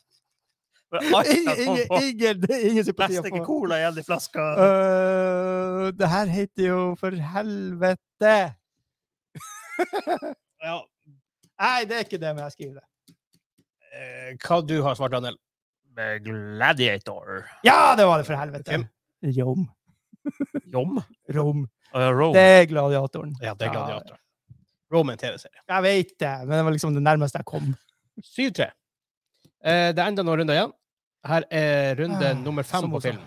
Speaker 2: med alt
Speaker 3: Ingen,
Speaker 2: jeg kom
Speaker 3: ingen,
Speaker 2: på.
Speaker 3: ingen, ingen sympati å
Speaker 2: Nesten ikke
Speaker 3: få.
Speaker 2: cola igjen i flaska.
Speaker 3: Øh, det her heter jo For helvete!
Speaker 1: Ja,
Speaker 3: Nei, det er ikke det, men jeg skriver det.
Speaker 1: eh, hva du har svart, Daniel?
Speaker 2: Med Gladiator.
Speaker 3: Ja, det var det, for
Speaker 1: Hvem?
Speaker 3: helvete! Rom.
Speaker 2: Jom.
Speaker 3: Rom.
Speaker 2: Uh, Rome.
Speaker 3: Det er gladiatoren.
Speaker 1: Ja, det er Gladiator. Roman TV-serie.
Speaker 3: Jeg vet det, men det var liksom det nærmeste jeg kom.
Speaker 1: 7-3. Eh, det er enda noen runder igjen. Her er runde
Speaker 3: Ah,
Speaker 1: nummer fem
Speaker 3: som
Speaker 1: på
Speaker 3: også.
Speaker 1: film.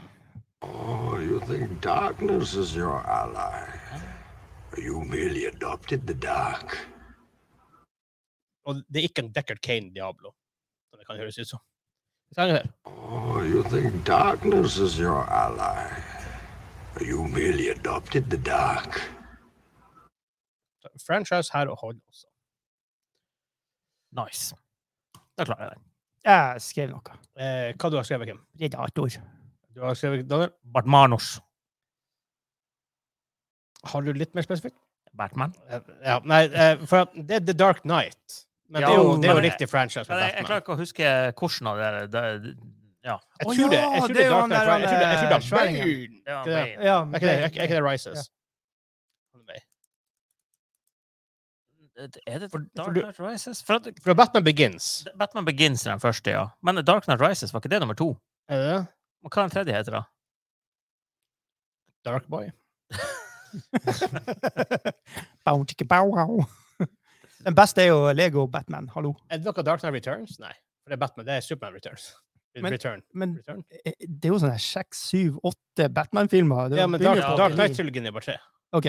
Speaker 8: Oh, you think darkness is your ally? You merely adopted the dark.
Speaker 1: Og det er ikke en Deckard Kane Diablo, som det kan høres ut som. Vi tar en gang til.
Speaker 8: Oh, you think darkness is your ally? You merely adopted the dark.
Speaker 1: Franchise her og hold også.
Speaker 2: Nice. Da klarer jeg den.
Speaker 3: Jeg skrev noe.
Speaker 1: Eh, hva du har skrevet, Kim?
Speaker 3: Predator.
Speaker 1: Du har skrevet, Daniel?
Speaker 2: Bartmanos.
Speaker 1: Har du litt mer spesifikt?
Speaker 2: Batman.
Speaker 1: Eh, ja, nei, eh, for at det er The Dark Knight. Men det er jo,
Speaker 3: Ja,
Speaker 1: det er jo
Speaker 2: men-
Speaker 1: riktig franchise med
Speaker 2: Men jeg, jeg
Speaker 1: Batman.
Speaker 2: klarer ikke å huske hvordan av det der det- Ja.
Speaker 1: Jeg
Speaker 3: Å
Speaker 1: tror det.
Speaker 3: ja,
Speaker 1: Jeg tror
Speaker 3: det
Speaker 1: det
Speaker 3: er
Speaker 1: er
Speaker 3: jo
Speaker 1: Dark
Speaker 3: han
Speaker 1: Knight.
Speaker 3: der,
Speaker 1: Ra- Jeg tror det- jeg tror det er
Speaker 3: han,
Speaker 1: Bane.
Speaker 3: eh,
Speaker 2: det var
Speaker 1: Ikke det?
Speaker 2: Bane.
Speaker 3: Ja,
Speaker 1: Er ikke det, er ikke- er ikke det Rises?
Speaker 2: Er det
Speaker 1: For- for
Speaker 2: Dark
Speaker 1: du-
Speaker 2: Knight Rises? For at,
Speaker 1: Fra Batman Begins.
Speaker 2: Batman Begins er den første, ja. Men Dark Knight Rises, var ikke det nummer to?
Speaker 1: Er det det?
Speaker 2: Og hva er den tredje heter, da?
Speaker 1: Dark Boy.
Speaker 3: Bow, chicka, bow, wow. Den beste er jo Lego Batman. Hallo.
Speaker 1: Er det noe Dark Knight Returns? Nei. For det er Batman. Det er Superman Returns.
Speaker 3: Men-
Speaker 1: Return.
Speaker 3: Men
Speaker 1: Return.
Speaker 3: eh, det er jo sånn her seks, syv, åtte Batman-filmer. Det
Speaker 1: Ja, men
Speaker 3: begynner
Speaker 1: Dark,
Speaker 3: på-
Speaker 1: Dark Knight-sylgen er bare tre.
Speaker 3: Ok.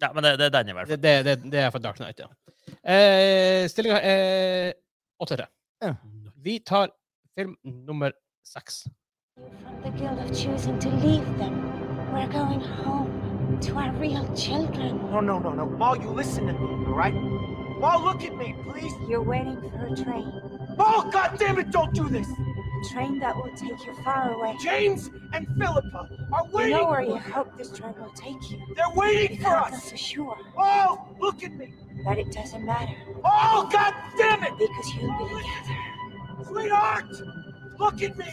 Speaker 2: Ja, men det, det er den i hvert
Speaker 1: Det,
Speaker 2: fall.
Speaker 1: det, det, det er for Dark Knight, ja. Eh, Stillinga er 8-3.
Speaker 3: Ja.
Speaker 1: Vi tar film nummer seks.
Speaker 9: From the guilt of choosing to leave them, we're going home to our real children.
Speaker 10: No, no, no, no. Maul, you listen to me, all right? Maul, look at me, please.
Speaker 9: You're waiting for a train,
Speaker 10: Maul, goddamn it, don't do this.
Speaker 9: a train that will take you far away.
Speaker 10: James and Philippa are
Speaker 9: You
Speaker 10: waiting.
Speaker 9: know where you hope this train will take you.
Speaker 10: They're waiting
Speaker 9: You
Speaker 10: for
Speaker 9: don't know
Speaker 10: us.
Speaker 9: for sure,
Speaker 10: Maul, look at me. Oh,
Speaker 9: but it doesn't matter
Speaker 10: Maul, goddamn it,
Speaker 9: because you'll be together.
Speaker 10: sweetheart. Look at me.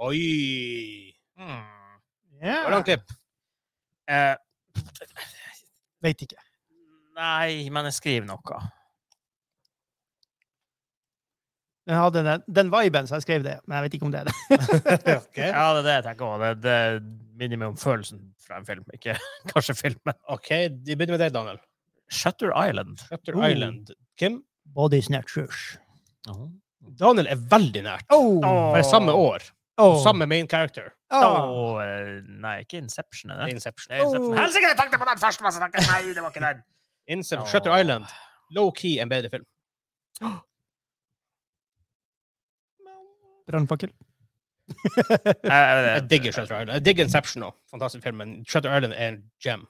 Speaker 1: Oi!
Speaker 2: Hmm.
Speaker 1: Det var langt klipp.
Speaker 2: Eh,
Speaker 3: Vet ikke.
Speaker 2: nei, men jeg skriver noe.
Speaker 3: Den hadde den, den viben, så jeg skrev det. Men jeg vet ikke om det er det.
Speaker 1: Ok.
Speaker 2: Ja, det er det jeg tenker òg. Det, det er minimum følelsen fra en film, ikke kanskje filmen.
Speaker 1: OK, vi begynner med deg, Daniel.
Speaker 2: Shutter Island.
Speaker 1: Shutter
Speaker 3: Oh.
Speaker 1: Island. Kim?
Speaker 3: Body snatchers.
Speaker 1: Daniel er veldig nært.
Speaker 3: Oh!
Speaker 1: For det er samme år. og
Speaker 3: Åh.
Speaker 1: Samme main character.
Speaker 3: Åh.
Speaker 2: Åh, eh, nei, ikke Inception, er det?
Speaker 1: Ah. Inception. Oh.
Speaker 2: Det er Inception.
Speaker 3: Åh.
Speaker 2: Helsike, jeg tenkte på den først! men så tenkte jeg, Nei, det var ikke den.
Speaker 1: Inception.
Speaker 2: Åh.
Speaker 1: Shutter Island. Low-key en bedre film.
Speaker 3: Brannfakkel.
Speaker 2: Jeg,
Speaker 1: Jeg digger Shutter Island. Jeg digger Inception òg. Fantastisk film, men Shutter Island er en gem.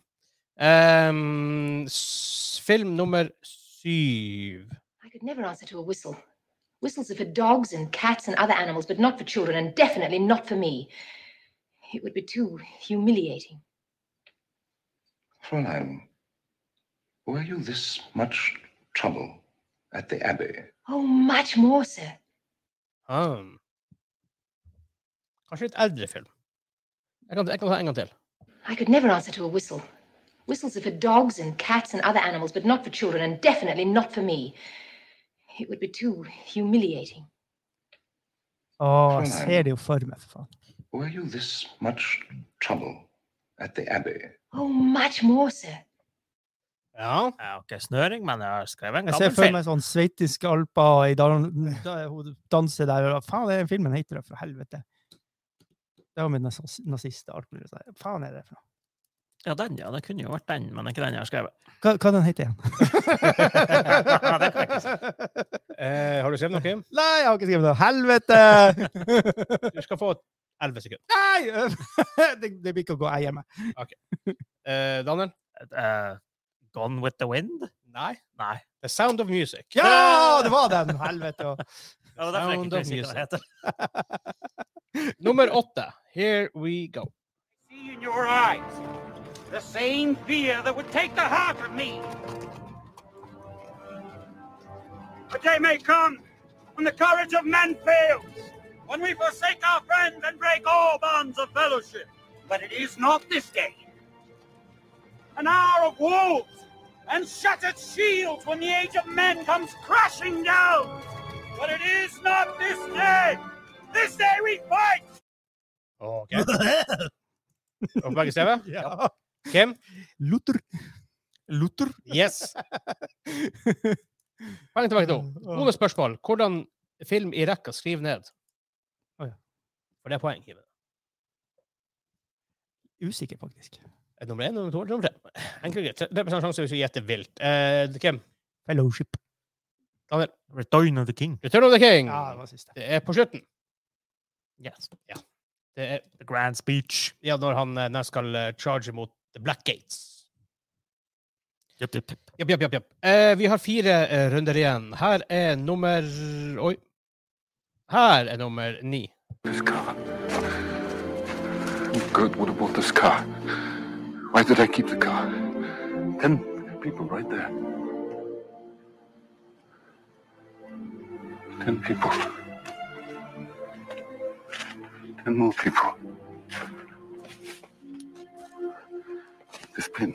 Speaker 1: Ehm, s- film nummer syv.
Speaker 9: I could never answer to a whistle. Whistles are for dogs and cats and other animals, but not for children, and definitely not for me. It would be too humiliating.
Speaker 7: Fräulein, were you this much trouble at the Abbey?
Speaker 9: Oh, much more, sir.
Speaker 1: Hmm. Kanskje litt eldre film. Jeg kan, jeg kan ta en gang til.
Speaker 9: I could never answer to a whistle. Whistles are for dogs and cats and other animals, but not for children, and definitely not for me. It would be too humiliating.
Speaker 3: Åh, jeg ser det jo for meg, for faen.
Speaker 7: Were you this much trouble at the Abbey?
Speaker 9: Oh, much more, sir.
Speaker 1: Ja.
Speaker 2: jeg har ikke snøring, men jeg har skrevet en
Speaker 3: Jeg ser
Speaker 2: gammel
Speaker 3: for
Speaker 2: film.
Speaker 3: meg sånn sveitisk alpa i dan da hun danser der. og Faen, den filmen heter det, for helvete. Det var med nazis- nazister og alt mulig sånn. Faen er det for noe?
Speaker 2: Ja, den, ja. Det kunne jo vært den, men det er ikke den jeg har skrevet.
Speaker 3: Hva, hva den heter den igjen?
Speaker 2: Det kan jeg ikke si.
Speaker 1: Eh, har du skrevet noe? Kim?
Speaker 3: Nei, jeg har ikke skrevet noe. Helvete!
Speaker 1: Du skal få 11 sekunder.
Speaker 3: Nei! Det, det blir ikke å gå eier meg.
Speaker 1: Eh, Daniel?
Speaker 2: Eh, Gone with the Wind?
Speaker 1: Nei.
Speaker 2: Nei.
Speaker 1: The Sound of Music.
Speaker 3: Ja, det var den!
Speaker 2: Ja,
Speaker 3: Helvete.
Speaker 2: det er derfor jeg
Speaker 1: Sound of
Speaker 2: ikke kunne si hva den heter.
Speaker 1: Nummer åtte. Here we go.
Speaker 10: See in your eyes the same fear that would take the heart of me. A day may come when the courage of men fails, when we forsake our friends and break all bonds of fellowship. But it is not this day. An hour of wolves and shattered shields when the age of men comes crashing down. But it is not this day. This day we fight.
Speaker 1: Ok. Og begge skrevet?
Speaker 3: Ja.
Speaker 1: Kim?
Speaker 3: Luther. Luther?
Speaker 1: Yes. Poeng tilbake til henne. Noen spørsmål. Hvordan film i rekka skriver ned?
Speaker 3: Å, ja.
Speaker 1: For det er poeng. Kim.
Speaker 3: Usikker, faktisk.
Speaker 1: Er det Eh, Nummer én, nummer to eller nummer tre? Enkelt og greit. 3 sjanse hvis du gjetter vilt. Eh, Kim?
Speaker 3: Fellowship.
Speaker 1: Daniel?
Speaker 2: Return of the King.
Speaker 1: Return of the King.
Speaker 3: Ja, det var siste.
Speaker 1: Det er på slutten.
Speaker 2: Yes.
Speaker 1: Det er
Speaker 2: The Grand Speech.
Speaker 1: ja, når han eh, når skal eh, charge mot The Black Gates.
Speaker 2: Jupp, jupp, jupp.
Speaker 1: Japp, japp, japp, japp. Eh, vi har fire eh, runder igjen. Her er nummer Oi. Her er nummer ni.
Speaker 8: This car. Good would have bought this car. Why did I keep the car? Ten people right there. Ten people. Ten more people. This pin.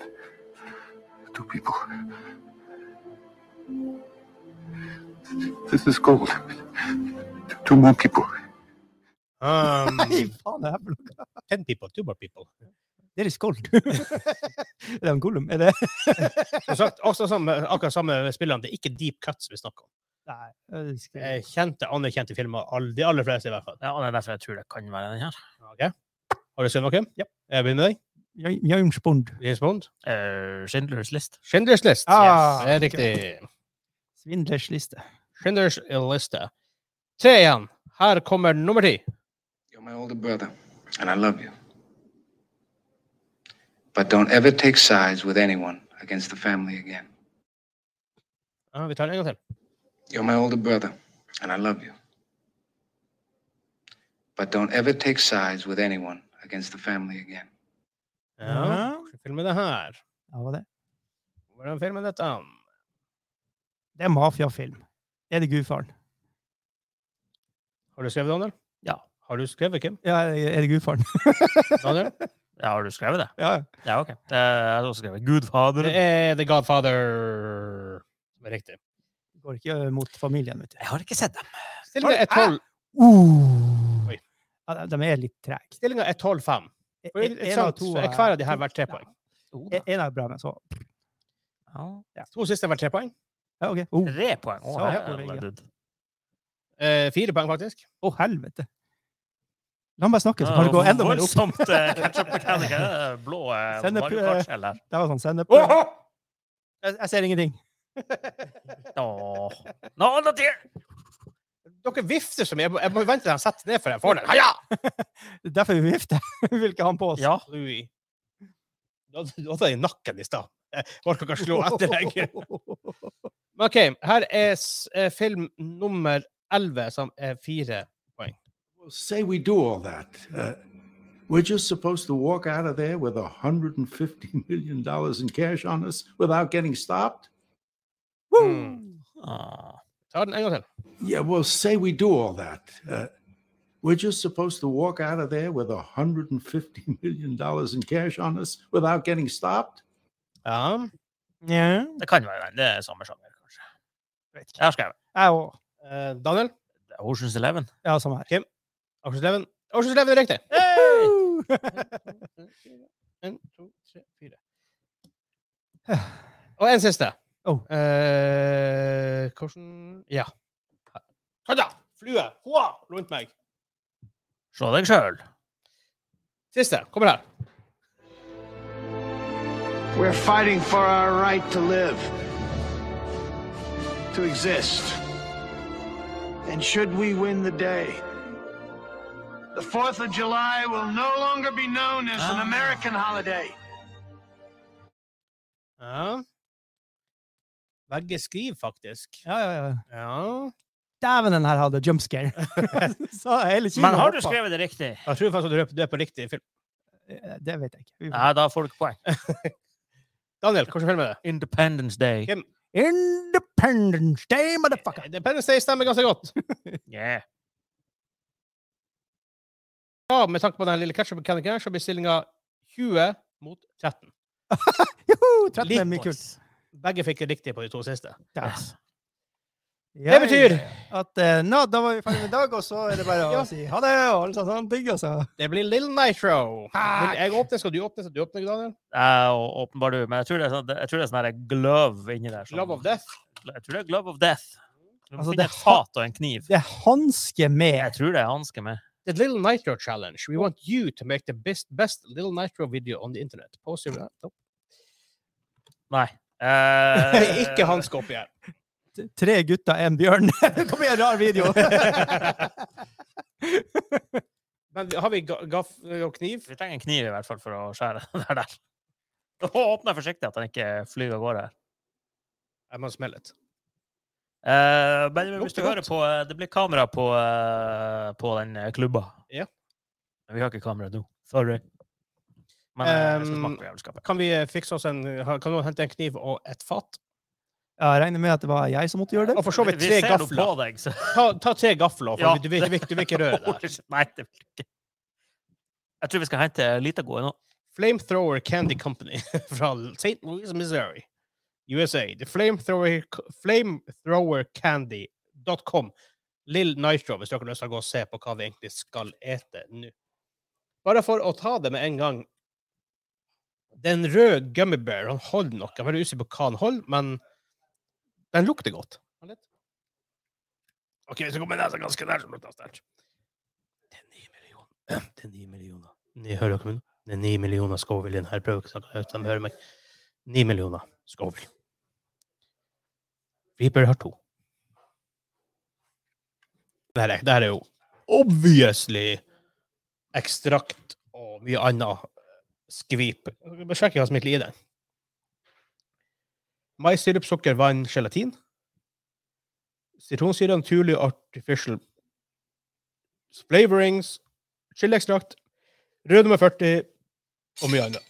Speaker 8: Two people. This is gold. Two more people.
Speaker 1: Um,
Speaker 3: Nei, faen, det er for noe?
Speaker 1: ten people, two more people.
Speaker 3: Det er skold. er det en Gollum? Er det
Speaker 1: Som sagt, også samme, akkurat samme med spillerne. Det er ikke deep cuts vi snakker om.
Speaker 3: Nei, jeg husker
Speaker 1: Eh, Kjente, anerkjente filmer. all- De aller fleste, i hvert fall.
Speaker 2: Ja, og det er derfor jeg tror det kan være den her.
Speaker 1: Ok. Har du sett noen?
Speaker 3: Ja.
Speaker 1: Jeg begynner med deg.
Speaker 3: Jeg- James Bond.
Speaker 1: James Bond.
Speaker 2: Eh, Schindlers list.
Speaker 1: Schindlers List.
Speaker 3: Ah,
Speaker 1: det er riktig.
Speaker 3: Svindlers liste.
Speaker 1: Schindlers liste. Tre igjen. Her kommer nummer ti.
Speaker 11: You're my older brother, and I love you. But don't ever take sides with anyone against the family again.
Speaker 1: Ja, vi tar den en gang til.
Speaker 11: You're my older brother, and I love you. But don't ever take sides with anyone against the family again.
Speaker 1: Ja. Hvordan film er det her?
Speaker 3: Ja, var det.
Speaker 1: Hvordan film er dette?
Speaker 3: det er mafiafilm. Er det gudfaren?
Speaker 1: Har du skrevet, Daniel?
Speaker 2: Ja.
Speaker 1: Har du skrevet, Kim?
Speaker 3: Ja, er det gudfaren?
Speaker 1: Daniel?
Speaker 2: Ja, har du skrevet det?
Speaker 3: ja.
Speaker 2: Ja, ok. Det er- Jeg har også skrevet Gudfader.
Speaker 1: Det er The Godfather. som er Riktig.
Speaker 3: Går ikke mot familien, vet du.
Speaker 2: Jeg har ikke sett dem.
Speaker 1: Stillinga er 12
Speaker 3: Uh.
Speaker 1: Oi.
Speaker 3: Ja, de- de er litt trege.
Speaker 1: Stillingen er 12-5. For
Speaker 3: En- en
Speaker 1: ikke sant,
Speaker 3: to
Speaker 1: så
Speaker 3: er-
Speaker 1: Hver av de her verdt tre poeng.
Speaker 2: Jo da.
Speaker 3: En- En er bra, men så
Speaker 2: Ja.
Speaker 1: To siste er verdt tre poeng.
Speaker 3: Ja, OK. Å,
Speaker 2: Tre poeng. Å,
Speaker 3: Så
Speaker 2: herre
Speaker 3: poeng, ja.
Speaker 2: dud.
Speaker 1: Eh, fire poeng, faktisk.
Speaker 3: å, helvete! La meg snakke, så
Speaker 2: Ja,
Speaker 3: kan det gå enda mer opp.
Speaker 2: Voldsomt eh, ketchup mechanic. eh, Blå eh,
Speaker 3: Send det
Speaker 2: Mario
Speaker 3: på-
Speaker 2: Kart-skjell her.
Speaker 3: Det var sånn sennep. Jeg, jeg ser ingenting.
Speaker 2: Åh. No, not here!
Speaker 1: Dere vifter så mye. Jeg må- Jeg må vente til han setter ned før jeg får den. Heia!
Speaker 3: Det er derfor vi vifter. Vi vil ikke ha han på oss.
Speaker 2: Ja.
Speaker 1: Louis. Du hadde du hadde den i nakken i stad. Jeg orker ikke å slå etter deg. Men OK, her er s- eh, film nummer 11, som er fire.
Speaker 12: Well, say we do all that. Uh, we're just supposed to walk out of there with $150 million in cash on us without getting stopped?
Speaker 1: Mm.
Speaker 2: Ah.
Speaker 1: Ta den en gang til.
Speaker 12: Yeah, well, say we do all that. Uh, we're just supposed to walk out of there with $150 million in cash on us without getting stopped?
Speaker 1: Ja.
Speaker 3: Ja.
Speaker 2: Det kan være den. Det er samme sjanger, kanskje.
Speaker 3: Vet ikke.
Speaker 2: Jeg har skrevet
Speaker 3: Jeg òg.
Speaker 1: Eh, Daniel?
Speaker 2: Oceans Eleven.
Speaker 3: Ja, samme her.
Speaker 1: Akershus Leven? Akershus Leven er riktig! En, to, tre, fire. Og en siste.
Speaker 3: Oh.
Speaker 1: Eh, hvordan Ja. Kom da! Flue! Hoa! Rundt meg.
Speaker 2: Se deg sjøl.
Speaker 1: Siste. Kommer her.
Speaker 7: We're fighting for our right to live, to exist. And should we win the day, the 4th of July will no longer be known as an
Speaker 2: Ah.
Speaker 7: American holiday.
Speaker 1: Ja. Begge skriver, faktisk.
Speaker 3: Ja, ja, ja.
Speaker 1: Ja
Speaker 3: Dæven, den her hadde jump scare. Så hele kinoet
Speaker 2: Men har du
Speaker 3: hoppet.
Speaker 2: skrevet det riktig?
Speaker 1: Jeg tror faktisk at du er på- du er på riktig film.
Speaker 3: Eh, Det vet jeg ikke. Vi får-
Speaker 2: Nei, da får du ikke poeng.
Speaker 1: Daniel, hvilken film er det?
Speaker 2: Independence Day.
Speaker 3: Independence Day, motherfucker!
Speaker 1: Independence Day stemmer ganske godt.
Speaker 2: Yeah.
Speaker 1: Ja, med tanke på den lille ketchup-mekanikken her, så blir stillinga 20 mot 13.
Speaker 3: Juhu, 13 er mye kult.
Speaker 2: Likewise.
Speaker 1: Begge fikk det riktig på de to siste.
Speaker 2: Yes.
Speaker 1: Det betyr
Speaker 3: at eh, nå, da var vi ferdig med i dag, og så er det bare å
Speaker 1: Ja.
Speaker 3: si ha det og alt sånt sånn digg, altså.
Speaker 1: det blir Little Nitro. Vil jeg åpne? Skal du åpne? Skal du åpne, Daniel?
Speaker 2: Ja, og åpenbar du. Men jeg tror det er sånn, jeg tror det er sånn her glove inni der. som-
Speaker 1: Love of Death.
Speaker 2: Jeg tror det er glove of death. Du må
Speaker 3: Altså,
Speaker 2: finne
Speaker 3: det
Speaker 2: et
Speaker 3: har-
Speaker 2: fat og en kniv.
Speaker 3: Det er hanske
Speaker 2: Jeg
Speaker 3: med.
Speaker 2: tror det er hanske med.
Speaker 1: The Little Nitro Challenge. We want you to make the best, best Little Nitro video on the internet. Post your laptop.
Speaker 2: Nei. Eh,
Speaker 1: Ikke hanske oppi her.
Speaker 3: T- Tre gutter, en bjørn. det kommer en rar video.
Speaker 1: Men har vi ga- gaff og kniv?
Speaker 2: Vi trenger en kniv i hvert fall for å skjære den der. der. Og åpne forsiktig at den ikke flyr av gårde.
Speaker 1: Jeg må smelle litt.
Speaker 2: Eh, men hvis
Speaker 1: Lukter
Speaker 2: du hører
Speaker 1: godt.
Speaker 2: på eh, Det blir kamera på, eh, på den eh, klubba.
Speaker 1: Ja.
Speaker 2: Men vi har ikke kamera nå. Sorry. Men eh, jeg skal
Speaker 1: Um,
Speaker 2: smake på jævelskapet.
Speaker 1: Kan vi eh, fikse oss en ha- Kan noen hente en kniv og et fat?
Speaker 3: Jeg regner med at det var jeg som måtte gjøre det.
Speaker 1: Og for så vidt
Speaker 2: Vi
Speaker 1: tre
Speaker 2: ser nå på
Speaker 1: gafler.
Speaker 2: deg, så
Speaker 1: Ta, ta tre gafler, for
Speaker 2: Ja,
Speaker 1: du, vil- du, vil- du vil ikke røre det. her.
Speaker 2: Nei, det vil ikke. Jeg tror vi skal hente Litago nå.
Speaker 1: Flamethrower Candy Company fra St. Louis, Missouri, USA. The Flamethrower, flamethrowercandy.com. Lill Nitro, hvis dere har lyst til å gå og se på hva vi egentlig skal ete nå. Bare for å ta det med en gang. Den røde gummibæren, han holder noe. Jeg er veldig usikker på hva han holder, men den lukter godt. OK, så kommer nesa ganske nær, så lukter det sterkt. Det er ni millioner. Ni hører dere meg nå? Det er ni millioner Scoville i denne prøvesaken. Jeg vet ikke om De hører meg. Ni millioner Scoville. Reaper har to. Det her er, det her er jo obviously ekstrakt og mye annet skvip. Jeg må sjekke hva som egentlig er i den. Mais, sirup, sukker, vann, gelatin. Sitronsyre, naturlig artificial flavorings, chiliekstrakt, rød nummer 40 og mye annet.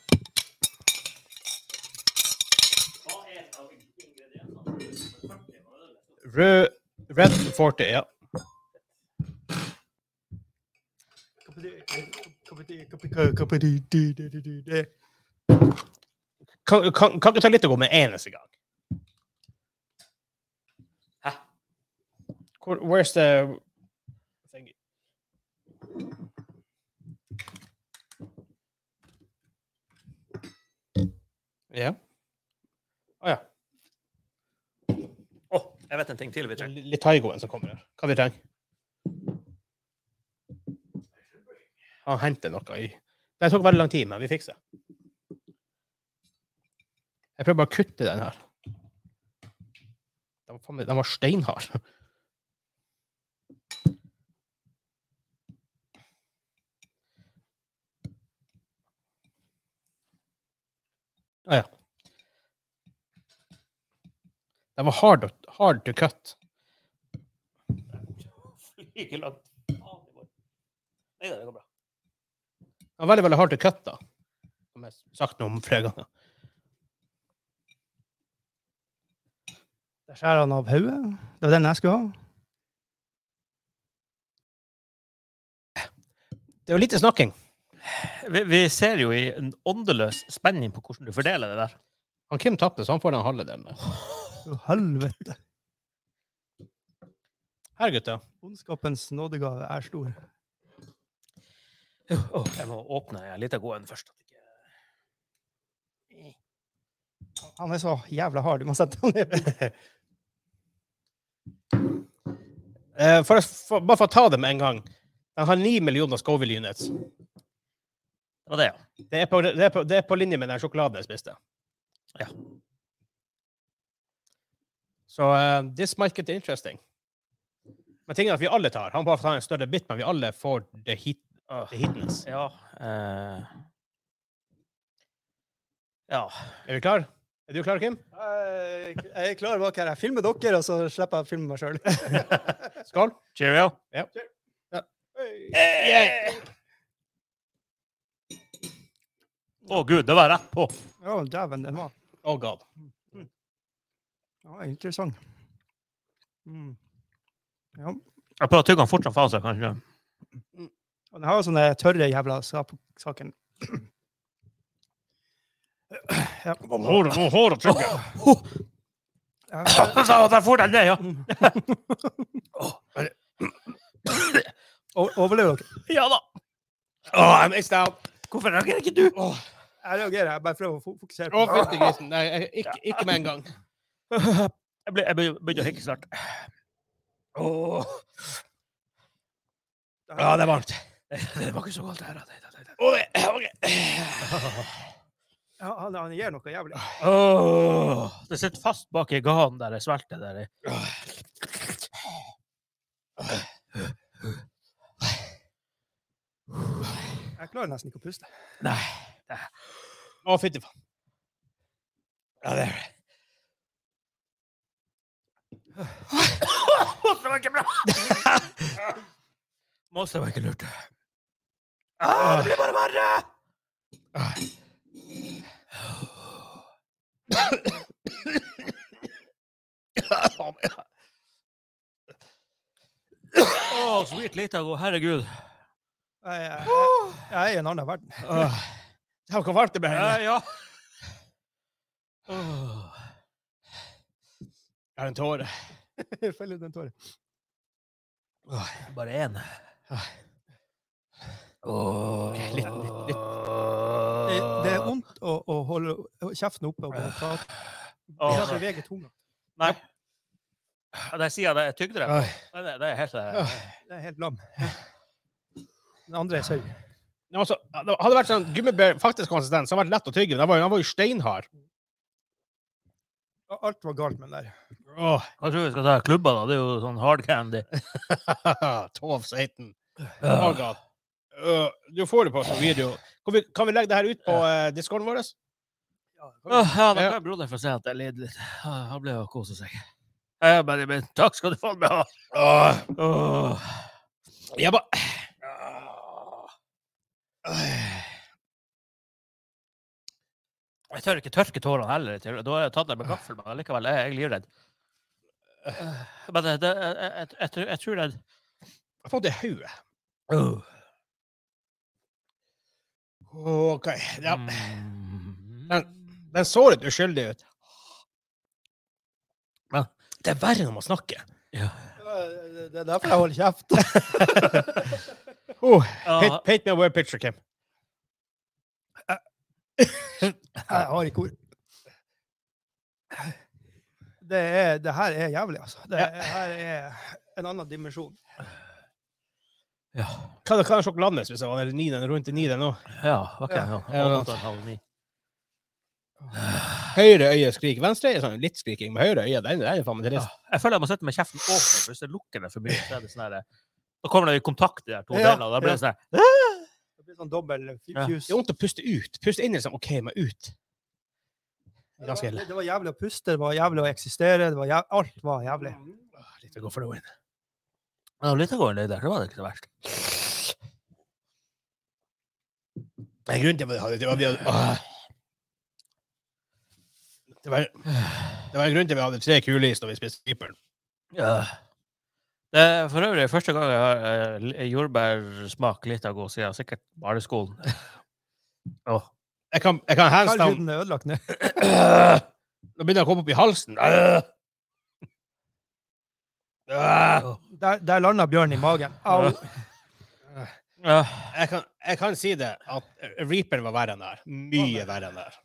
Speaker 1: Rød Red 40, ja. Kan, kan, kan ikke ta litt å gå med eneste gang.
Speaker 2: Hæ?
Speaker 1: Hvor, where's the Ja. Å ja.
Speaker 2: Å, jeg vet en ting til vi trenger.
Speaker 1: Litt Taigoen som kommer her. Hva vi trenger Han henter noe i Det tok veldig lang tid, men vi fikser det. Jeg prøver bare å kutte den her. Den var, faen meg- den var steinhard. Å ja. Den var hard, å- hard to cut.
Speaker 2: Flyger langt. Faen, det går. Nei da, det går bra.
Speaker 1: Den var veldig, veldig hard to cut, da. Som jeg har sagt noe om flere ganger.
Speaker 3: Der skjærer han av hodet. Det var den jeg skulle ha.
Speaker 1: Det var lite snakking.
Speaker 2: Vi, vi ser jo i en åndeløs spenning på hvordan du fordeler det der.
Speaker 1: Han Kim tapte, så han får den halve delen der.
Speaker 3: Å, Helvete.
Speaker 1: Her, gutter.
Speaker 3: Ondskapens nådegave er stor.
Speaker 2: Åh, jeg må åpne en liten god en først.
Speaker 3: Han er så jævla hard. Du må sette ham ned.
Speaker 1: Eh, for, å- for, bare for å ta det med en gang. Den har ni millioner Scoville units.
Speaker 2: Det var det, ja.
Speaker 1: Det er på, det er på, det er på linje med den sjokoladen jeg spiste.
Speaker 2: Ja.
Speaker 1: Så eh, this might get interesting. Men tingen er at vi alle tar. Han bare tar en større bit, men vi alle får the, hit, the hitness.
Speaker 2: Ja. eh, ja.
Speaker 1: Er vi klar? Er du klar, Kim?
Speaker 3: Jeg er klar bak her. Jeg filmer dere, og så slipper jeg å filme meg sjøl.
Speaker 1: Skål.
Speaker 2: Cheerio.
Speaker 1: Ja. Ja.
Speaker 2: Å gud, det var rett på.
Speaker 3: Å, dæven, den var
Speaker 1: Oh god.
Speaker 3: ja, interessant. Mm. Ja.
Speaker 2: Jeg prøver å tygge den fort som faen, så jeg kan ikke
Speaker 3: Og den har jo sånne tørre jævla skap saken. Ja.
Speaker 2: Hår- hår- hår og trykke.
Speaker 3: Ja.
Speaker 2: Så der får den det, ja.
Speaker 3: O- Overlever dere?
Speaker 2: Ja da.
Speaker 1: Oh, I missed out.
Speaker 2: Hvorfor reagerer ikke du?
Speaker 3: Jeg reagerer, jeg bare prøver å fo- fokusere
Speaker 1: Å, fytti grisen. Nei, jeg- ikke, ikke med en gang.
Speaker 2: Jeg ble- jeg begynner begynner å hikke snart. Åh.
Speaker 1: Ja, det er varmt.
Speaker 2: Det var ikke så galt, det her. Det, det, det.
Speaker 3: Ja, han, han gjør noe jævlig.
Speaker 2: Åh, det sitter fast bak i ganen der jeg svelgte. Der. jeg-
Speaker 3: Jeg klarer nesten ikke å puste.
Speaker 2: Nei.
Speaker 1: Å, fytti faen. Ja, det er det.
Speaker 2: Det var ikke bra! Monster var ikke lurt.
Speaker 1: Ah,
Speaker 2: det blir bare verre! Å, sweet Litago, herregud.
Speaker 3: Jeg, jeg, jeg, jeg er i en annen verden.
Speaker 2: Åh.
Speaker 1: Tenk hvor varmt det ble.
Speaker 2: Ja,
Speaker 1: her inne.
Speaker 2: ja. Åh.
Speaker 1: Jeg har en tåre.
Speaker 3: Jeg feller ut en tåre.
Speaker 2: Åh, Bare én.
Speaker 1: Litt, litt, litt.
Speaker 3: Det, det er vondt å, å holde kjeften oppe og prate.
Speaker 2: Åh.
Speaker 3: Ikke bevege tunga.
Speaker 2: Nei. Ja, Der sier jeg det er tygdrem.
Speaker 1: Oi.
Speaker 2: Nei, Det, det er helt eh,
Speaker 1: Åh, Det er helt lam. Den andre er sau. Men Altså, hadde det vært sånn gummibær faktisk konsistens, så hadde det vært lett å tygge. men Den var jo, den var jo steinhard.
Speaker 3: Alt var galt med den der.
Speaker 2: Hva tror du vi skal ta i klubba, da? Det er jo sånn hard candy.
Speaker 1: Tov Satan. Laga. Øh, du får det på som video. Kan vi, kan vi legge det her ut på uh, discorden vår?
Speaker 2: Åh, ja, da kan broderen få se at jeg lider litt. Ah, Han ble jo å kose seg. Ja, Benjamin, takk skal du faen meg ha!
Speaker 1: Åh,
Speaker 2: åh.
Speaker 1: Jeg ba...
Speaker 2: Jeg tør ikke tørke tårene heller. til- Da har jeg tatt dem med gaffel, men likevel er jeg livredd. Men det, det, jeg, jeg, jeg, tror- jeg tror det
Speaker 1: Jeg fant det i hodet.
Speaker 2: Åh.
Speaker 1: OK. Ja.
Speaker 2: Mm.
Speaker 1: Den, den så litt uskyldig ut. Men det er verre når man snakker.
Speaker 3: Det det er derfor jeg holder kjeft.
Speaker 1: Oh,
Speaker 3: Ja.
Speaker 1: paint, paint me a word picture, Kim.
Speaker 3: Jeg har ikke ord. Det, er, det her er jævlig, altså. Det
Speaker 1: Ja.
Speaker 3: her er en annen dimensjon.
Speaker 1: Hva, hva er sjokoladen hvis jeg var eller ni, den er rundt i ni den nå?
Speaker 2: Ja, ok. Ja.
Speaker 1: Ja.
Speaker 2: Åtte og en halv, ni.
Speaker 1: Høyre øye skriker. Venstre øye sånn litt skriking, men høyre øye, den, den er faen meg trist.
Speaker 2: Jeg føler jeg må sette meg kjeften åpen, for hvis jeg lukker den for mye, så er det sånn her Da kommer det i kontakt, de der to
Speaker 1: Ja,
Speaker 2: delene, og da blir det
Speaker 1: ja.
Speaker 2: sånn her
Speaker 3: Det blir sånn dobbel
Speaker 1: Ja. Det
Speaker 3: fjus.
Speaker 1: er vondt å puste ut. Puste inn liksom, OK, men ut. Det er Ganske
Speaker 3: Det,
Speaker 1: ille.
Speaker 3: det var jævlig å puste, det var jævlig å eksistere, det var jæv... alt var jævlig.
Speaker 1: Ah, Litt å gå for noen.
Speaker 2: Men da lytter jeg over det der, så var det ikke så verst.
Speaker 1: Nei, grunnen til at vi hadde det var, vi hadde, åh. det, var, det var en grunn til at vi hadde tre kulis da vi spiste Cypern.
Speaker 2: Ja. Det er for øvrig første gang jeg har eh, l- jordbærsmak litt av god siden sikkert barneskolen. Åh.
Speaker 1: Jeg kan, jeg kan hands down
Speaker 3: Kalvhuden er ødelagt nå.
Speaker 1: Nå begynner jeg å komme opp i halsen. Øh. Øh.
Speaker 3: Der, der landa bjørnen i magen. Au.
Speaker 1: Jeg, kan, jeg kan si det, at Reaperen var verre enn det her. Mye verre enn det her.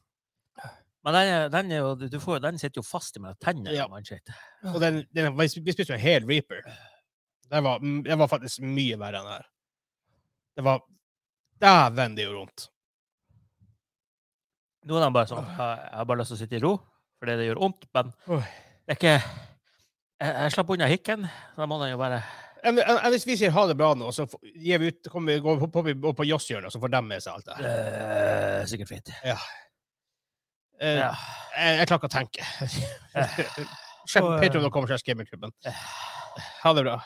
Speaker 2: Men den, er- den, er jo, du får, den sitter jo fast i mellom tennene.
Speaker 1: Ja.
Speaker 2: og man shit.
Speaker 1: Og den, den, vi spiste jo en hel Reaper. Den var, den var faktisk mye verre enn det her. Det var Dæven, det gjorde vondt.
Speaker 2: Nå er den bare sånn Jeg jeg har bare lyst til å sitte i ro, fordi det gjør vondt, men
Speaker 1: Oi.
Speaker 2: det er ikke Jeg, jeg slapp unna hikken. Da må den jo bare
Speaker 1: Enn- enn- enn Hvis vi sier ha det bra nå, så får- gir vi ut, kommer vi, går, hopper vi opp på Joss-hjørnet, så får de med seg alt det her.
Speaker 2: eh, Sikkert fint.
Speaker 1: Ja. Eh,
Speaker 2: Ja.
Speaker 1: Jeg, jeg klarer ikke å tenke. Sjekk
Speaker 3: Og, eh,
Speaker 1: Patreon.com slash gamingklubben. Ha det bra.